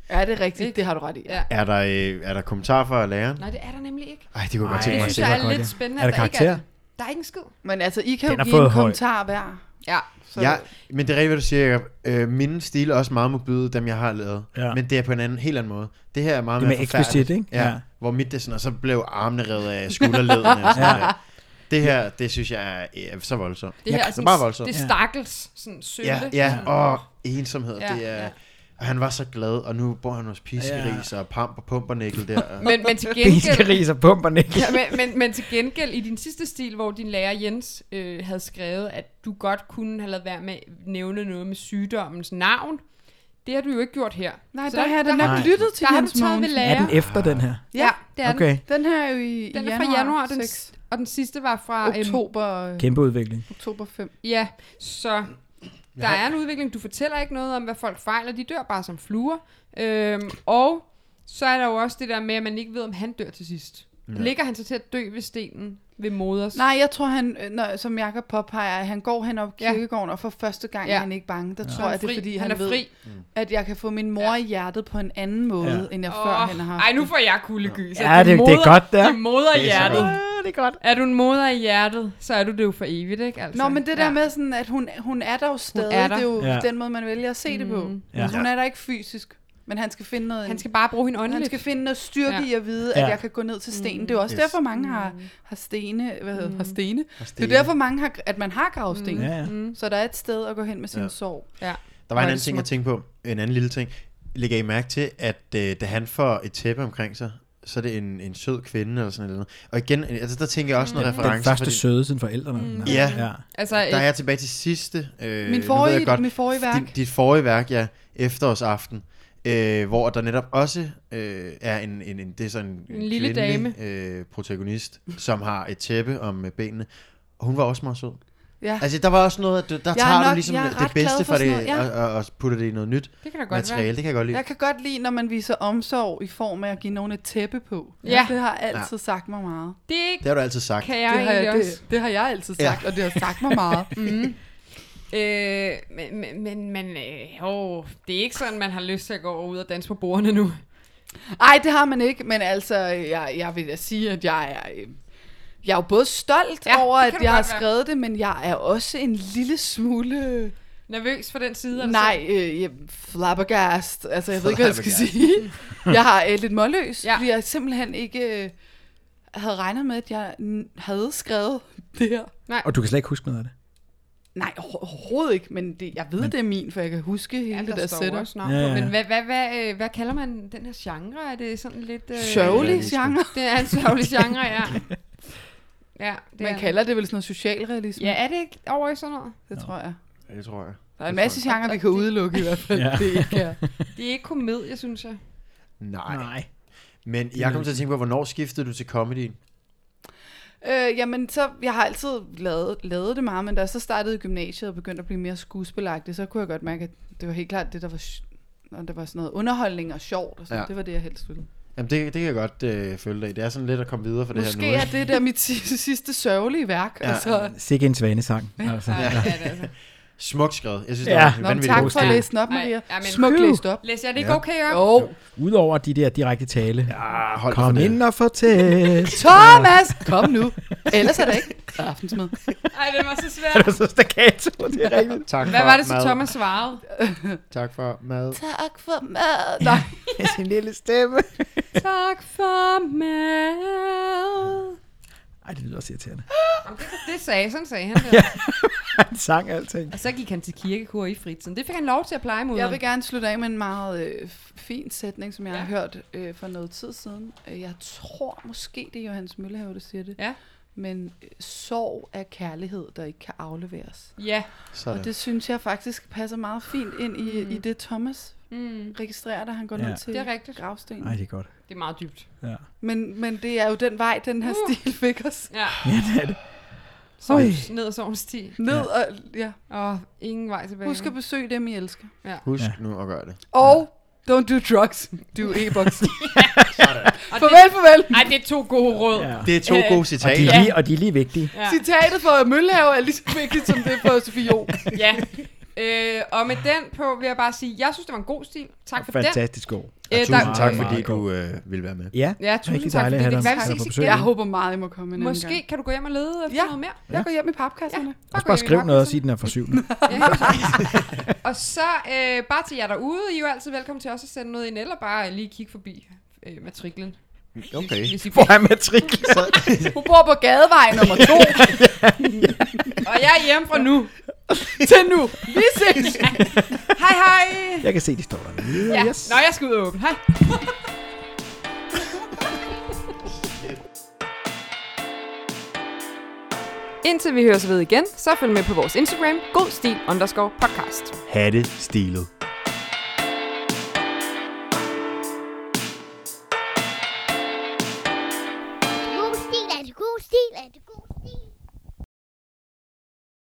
Speaker 4: Ja, det er rigtigt. Det har du ret i.
Speaker 2: Ja.
Speaker 4: Ja.
Speaker 3: Er der, øh, er der kommentarer fra læreren?
Speaker 2: Nej, det er der nemlig ikke.
Speaker 3: Nej, det kunne jeg godt
Speaker 5: Ej,
Speaker 3: tænke
Speaker 2: Det
Speaker 3: mig at
Speaker 2: synes
Speaker 3: se.
Speaker 5: det
Speaker 2: jeg
Speaker 5: var
Speaker 2: er
Speaker 5: godt,
Speaker 2: lidt
Speaker 5: ja.
Speaker 2: spændende,
Speaker 5: Er
Speaker 2: at
Speaker 5: der
Speaker 2: der ikke er
Speaker 5: karakter?
Speaker 2: det. Der er ikke en skid.
Speaker 4: Men altså, I kan
Speaker 5: Den
Speaker 4: jo
Speaker 5: har
Speaker 4: give
Speaker 5: fået
Speaker 4: en
Speaker 5: høj.
Speaker 4: kommentar hver.
Speaker 2: Ja.
Speaker 4: Så
Speaker 3: Ja, men det er rigtigt, hvad du siger, Jacob. Øh, min stil er også meget modbyde, dem jeg har lavet.
Speaker 5: Ja.
Speaker 3: Ja. Men det er på en anden, helt anden måde. Det her er meget
Speaker 5: Det er
Speaker 3: mere
Speaker 5: mere
Speaker 3: forfærdeligt.
Speaker 5: eksplicit, ikke?
Speaker 3: Ja,
Speaker 5: Ja.
Speaker 3: ja. Hvor mit det er sådan, og så blev armene revet af skulderledene. og sådan ja. Det her, det synes jeg er, er så voldsomt.
Speaker 2: Det
Speaker 5: Jeg
Speaker 2: her er
Speaker 5: kan-
Speaker 3: det
Speaker 2: sådan,
Speaker 3: er bare voldsomt.
Speaker 2: det er
Speaker 5: Ja.
Speaker 2: stakkels sådan sølle. Mm.
Speaker 3: Ja, ja, og ensomhed, ja,
Speaker 1: Ja,
Speaker 3: det er...
Speaker 1: ja.
Speaker 3: Ja. Og han var så glad, og nu bor han hos piskeris ja. og pamp og pumpernikkel der. og-
Speaker 2: Men, men til gengæld...
Speaker 5: Fiskeris og pumperne.
Speaker 2: Ja, men, men, men til gengæld i din sidste stil, hvor din lærer Jens øh, havde skrevet, at du godt kunne have lavet være med at nævne noget med sygdommens navn, det har du jo ikke gjort her.
Speaker 4: Nej,
Speaker 2: Så
Speaker 4: der har jeg da
Speaker 2: der,
Speaker 4: nok
Speaker 3: Nej.
Speaker 4: lyttet til
Speaker 2: der har du
Speaker 4: Jens
Speaker 2: taget ved
Speaker 4: Mogensen.
Speaker 5: Er
Speaker 2: lærer.
Speaker 5: den efter den her?
Speaker 2: Ja, det er den.
Speaker 5: Okay.
Speaker 4: Den her er jo i,
Speaker 2: Den
Speaker 4: i
Speaker 2: er
Speaker 4: januar,
Speaker 2: fra januar, den,
Speaker 4: 6.
Speaker 2: og den sidste var fra... øhm,
Speaker 4: oktober, øh,
Speaker 5: Kæmpe udvikling.
Speaker 4: oktober 5.
Speaker 2: Ja, så der er en udvikling. Du fortæller ikke noget om, hvad folk fejler. De dør bare som fluer. Øhm, og så er der jo også det der med, at man ikke ved, om han dør til sidst. Ja. Ligger han så til at dø ved stenen ved moders?
Speaker 4: Nej, jeg tror, han, øh, når, som Jakob påpeger, at han går hen op
Speaker 2: Ja.
Speaker 4: kirkegården, og for første gang
Speaker 2: Ja.
Speaker 4: er han ikke bange. Der tror jeg, det er, fordi han,
Speaker 2: han er
Speaker 4: ved,
Speaker 2: fri.
Speaker 4: at jeg kan få min mor i hjertet på en anden måde,
Speaker 5: Ja.
Speaker 4: end jeg
Speaker 2: Åh,
Speaker 4: før han har haft.
Speaker 2: Ej, nu får jeg kuldegys.
Speaker 5: Ja, det- det er godt, det er.
Speaker 2: Det moder i
Speaker 3: Det er så
Speaker 2: hjertet.
Speaker 3: godt.
Speaker 5: Ja, det er godt.
Speaker 2: Er du en moder i hjertet, så er du det jo for evigt, ikke? Altså,
Speaker 4: Nå, men det der
Speaker 2: ja.
Speaker 4: med, sådan, at hun, hun er der jo stadig,
Speaker 2: er
Speaker 4: er
Speaker 2: der.
Speaker 4: der. det er jo
Speaker 5: Ja.
Speaker 4: ja. den måde, man vælger at se det på.
Speaker 2: Mm.
Speaker 5: Ja.
Speaker 4: Ja. Hun er der ikke fysisk, men han skal finde noget...
Speaker 2: Han skal bare bruge hende
Speaker 4: han
Speaker 2: åndeligt.
Speaker 4: skal finde noget styrke
Speaker 2: Ja. Mm.
Speaker 4: ja. i at vide,
Speaker 5: Ja.
Speaker 4: at jeg kan gå ned til stenen. Det er jo også
Speaker 3: Yes.
Speaker 4: yes. derfor, mange har, har stene. Hvad hedder, har stene? Det
Speaker 3: stene.
Speaker 4: er jo derfor, mange har, at man har
Speaker 2: Mm.
Speaker 4: gravsten.
Speaker 5: Ja, ja.
Speaker 4: Så der er et sted at gå hen med sin
Speaker 3: Ja.
Speaker 4: ja. sorg.
Speaker 2: Ja.
Speaker 3: Der var en
Speaker 2: Hvor er
Speaker 3: anden
Speaker 2: det
Speaker 3: ting, jeg tænkte på. En anden lille ting. Lægger I mærke til, at øh, da han får et tæppe omkring sig, så er det en, en sød kvinde eller sådan noget. Og igen, altså, der tænker jeg
Speaker 4: Mm.
Speaker 3: også noget reference.
Speaker 5: Den første
Speaker 3: fordi-
Speaker 5: søde siden forældrene. Mm.
Speaker 3: Ja.
Speaker 5: ja.
Speaker 2: Altså,
Speaker 3: Der er jeg tilbage til sidste. Øh,
Speaker 4: Min
Speaker 3: nu
Speaker 4: forrige-
Speaker 3: ved jeg godt,
Speaker 4: mit forrige værk.
Speaker 3: Dit, dit forrige værk, ja. Efterårsaften. Øh, hvor der netop også øh, er en, en, en, det er sådan en,
Speaker 2: En lille
Speaker 3: kvindelig, Øh, protagonist, som har et tæppe om øh, benene. Og hun var også meget sød.
Speaker 4: Ja.
Speaker 3: Altså, der var også noget, at du- der
Speaker 4: er
Speaker 3: tager du
Speaker 4: nok-
Speaker 3: ligesom
Speaker 4: jeg er
Speaker 3: det
Speaker 4: ret glad
Speaker 3: bedste
Speaker 4: for
Speaker 3: fra det,
Speaker 4: sådan noget,
Speaker 3: og, og, og putter det i noget nyt
Speaker 2: det kan da godt
Speaker 3: materiale.
Speaker 2: være.
Speaker 3: Det kan jeg godt lide.
Speaker 4: Jeg kan godt lide, når man viser omsorg i form af at give nogen et tæppe på.
Speaker 2: Ja.
Speaker 4: Det har altid sagt mig meget.
Speaker 2: Det
Speaker 3: Det har du altid sagt.
Speaker 2: kan jeg
Speaker 4: det, har
Speaker 2: egentlig
Speaker 4: jeg,
Speaker 2: også.
Speaker 4: det, det har jeg altid
Speaker 3: Ja.
Speaker 4: sagt, ja. og det har sagt mig meget.
Speaker 2: Øh, men, men, men, men øh, åh, det er ikke sådan, man har lyst til at gå ud og danse på bordene nu.
Speaker 4: Nej, det har man ikke, men altså, jeg, jeg vil da sige, at jeg er... øh, Jeg er jo både stolt
Speaker 2: Ja,
Speaker 4: ja, over,
Speaker 2: det kan
Speaker 4: at
Speaker 2: du
Speaker 4: jeg
Speaker 2: godt
Speaker 4: har
Speaker 2: være.
Speaker 4: skrevet det, men jeg er også en lille smule...
Speaker 2: Nervøs for den side? er du
Speaker 4: Nej, øh, jeg, flabbergast. Altså, jeg ved ikke, hvad jeg skal
Speaker 3: Flabbergast.
Speaker 4: sige. Jeg har øh, lidt målløs,
Speaker 2: Ja.
Speaker 4: ja. fordi jeg simpelthen ikke øh, havde regnet med, at jeg n- havde skrevet det her.
Speaker 5: Og du kan slet ikke huske noget af det.
Speaker 4: Nej, overho- overhovedet ikke, men det, jeg ved, det er min, for jeg kan huske hele
Speaker 2: Ja,
Speaker 4: det
Speaker 2: der,
Speaker 4: der
Speaker 2: der står
Speaker 4: setup.
Speaker 2: også navn
Speaker 5: Ja,
Speaker 2: ja,
Speaker 5: ja.
Speaker 2: ja. Men hvad, hvad, hvad, øh, hvad kalder man den her genre? Er det sådan lidt... Øh,
Speaker 4: Sørgelig
Speaker 3: Øh,
Speaker 4: genre.
Speaker 2: Det er en sørgelig genre, ja. Ja, det er,
Speaker 4: Man kalder det vel sådan noget socialrealisme,
Speaker 2: Ja, er det ikke over i sådan noget?
Speaker 4: det tror jeg.
Speaker 3: Ja, det tror jeg.
Speaker 4: Der er en masse genre, vi kan udelukke i hvert fald.
Speaker 5: Ja.
Speaker 4: Det ikke er.
Speaker 2: Det er ikke komedie, synes jeg.
Speaker 3: Nej. Nej. Men jeg kom til at tænke på, hvornår skiftede du til comedyen?
Speaker 4: Øh, jamen, så, jeg har altid lavet, lavet det meget, men da jeg så startede i gymnasiet og begyndte at blive mere skuespilagtig, så kunne jeg godt mærke, at det var helt klart det, der var, sj- når der var sådan noget underholdning og sjovt, og sådan,
Speaker 3: Ja.
Speaker 4: ja. det var det, jeg helst ville.
Speaker 3: Jamen, det, det kan jeg godt øh, følge dig i. Det er sådan lidt at komme videre fra det her nu.
Speaker 4: Måske er
Speaker 3: ikke?
Speaker 4: det der mit si- sidste sørgelige værk.
Speaker 3: Ja.
Speaker 4: Ja. Altså.
Speaker 5: Sikke en svanesang. Altså.
Speaker 2: Ja, ja. det er altså.
Speaker 3: Smukt skrevet. Jeg synes,
Speaker 5: Ja.
Speaker 3: ja. det
Speaker 4: Nå, men
Speaker 3: var vanvittigt.
Speaker 4: tak
Speaker 5: god
Speaker 4: for at
Speaker 5: stil.
Speaker 4: læse den op,
Speaker 2: Ej,
Speaker 4: Maria.
Speaker 2: ja, men-
Speaker 4: Smukt
Speaker 5: Phew.
Speaker 4: læst op.
Speaker 2: Læser jeg det ikke
Speaker 3: Ja.
Speaker 2: okay op?
Speaker 4: Jo,
Speaker 5: Udover de der direkte tale.
Speaker 3: Ah, hold
Speaker 5: Kom
Speaker 3: for det.
Speaker 5: ind og fortæl.
Speaker 4: Thomas, kom nu. Ellers er det ikke aftensmad.
Speaker 2: Ej, det var så
Speaker 5: Er
Speaker 2: svært.
Speaker 5: du så staccato? Det er rigtigt.
Speaker 3: Tak
Speaker 2: Hvad
Speaker 3: for
Speaker 2: var det så,
Speaker 3: mad.
Speaker 2: Thomas svarede?
Speaker 3: Tak for mad.
Speaker 1: Tak for mad.
Speaker 4: Nej,
Speaker 5: Med sin lille stemme.
Speaker 2: Tak for mad.
Speaker 5: Ej, det lyder også irriterende.
Speaker 2: Det sagde, sådan sagde han det.
Speaker 5: Han sang alting.
Speaker 2: Og så gik han til kirkekur i fritiden. Det fik han lov til at pleje mod.
Speaker 4: jeg vil gerne slutte af med en meget øh, fin sætning, som jeg har hørt øh, for noget tid siden. Øh, Jeg tror måske, det er Johannes Møllehave, der siger det.
Speaker 2: Ja.
Speaker 4: Men øh, sorg er kærlighed, der ikke kan afleveres.
Speaker 2: Ja.
Speaker 3: Sådan.
Speaker 4: Og det synes jeg faktisk passer meget fint ind i, mm. i det, Thomas
Speaker 2: Mm.
Speaker 4: registrerer, da han går
Speaker 5: Ja.
Speaker 4: ja. ned til
Speaker 2: Det er rigtigt.
Speaker 4: gravstenen.
Speaker 5: Ej, det er godt.
Speaker 2: Det er meget dybt.
Speaker 5: Ja.
Speaker 4: Men, men det er jo den vej, den her
Speaker 2: Uh.
Speaker 4: uh. stil fik os.
Speaker 2: Ja.
Speaker 5: Ja, det er det.
Speaker 2: Sovs, ned og sovens ti.
Speaker 4: Ned og, ja.
Speaker 2: Og ingen vej tilbage.
Speaker 4: Husk at besøge dem, I elsker.
Speaker 3: Husk
Speaker 5: Ja.
Speaker 3: ja. nu at gøre det.
Speaker 4: Og don't do drugs, do e-boks.
Speaker 2: Og
Speaker 4: farvel, farvel.
Speaker 2: Det, ej, det er to gode råd.
Speaker 5: Ja.
Speaker 3: Det er to
Speaker 2: Øh,
Speaker 3: gode
Speaker 5: Og de,
Speaker 3: citater.
Speaker 5: er lige, og de er lige vigtige.
Speaker 2: Ja.
Speaker 4: Citatet fra Møllehave er lige så vigtigt, som det fra Sofie Jo.
Speaker 2: ja. Øh, og med den på vil jeg bare sige, jeg synes, det var en god stil. Tak for den.
Speaker 5: Fantastisk god.
Speaker 2: Øh,
Speaker 3: Tusind
Speaker 2: der-
Speaker 3: tak,
Speaker 5: øh,
Speaker 3: fordi
Speaker 5: meget
Speaker 3: du øh, ville være med.
Speaker 5: Ja,
Speaker 2: Ja, tusind
Speaker 5: Rigtig
Speaker 2: tak, fordi
Speaker 5: dejligt at
Speaker 2: det kan
Speaker 5: have dig-
Speaker 2: være, vi
Speaker 5: have dig på
Speaker 2: ses
Speaker 5: besøg.
Speaker 2: igen.
Speaker 4: Jeg håber meget, I må komme en anden
Speaker 2: Måske
Speaker 4: gang.
Speaker 2: kan du gå hjem og lede efter
Speaker 4: Ja.
Speaker 2: noget mere.
Speaker 4: Jeg går hjem i papkasserne. Ja.
Speaker 2: Bare
Speaker 5: også
Speaker 2: gå
Speaker 5: bare
Speaker 2: hjem i
Speaker 5: skriv noget og
Speaker 2: papkasserne.
Speaker 5: sige, den er fra syvende.
Speaker 2: Og så øh, bare til jer derude, I er jo altid velkommen til også at sende noget ind, eller bare lige kigge forbi øh, matriklen.
Speaker 3: Okay.
Speaker 2: Hvis I
Speaker 5: Hvor er matrikel?
Speaker 4: Hun bor på gadevej nummer to.
Speaker 2: Og jeg er hjemme fra nu. til nu. Vi ses. hej hej.
Speaker 5: Jeg kan se, de står der.
Speaker 2: Ja.
Speaker 5: Yeah, yes.
Speaker 2: Nå, jeg skal ud og åbne. Hej. Indtil vi høres ved igen, så følg med på vores Instagram, godstil underscore podcast.
Speaker 3: Hatte stilet.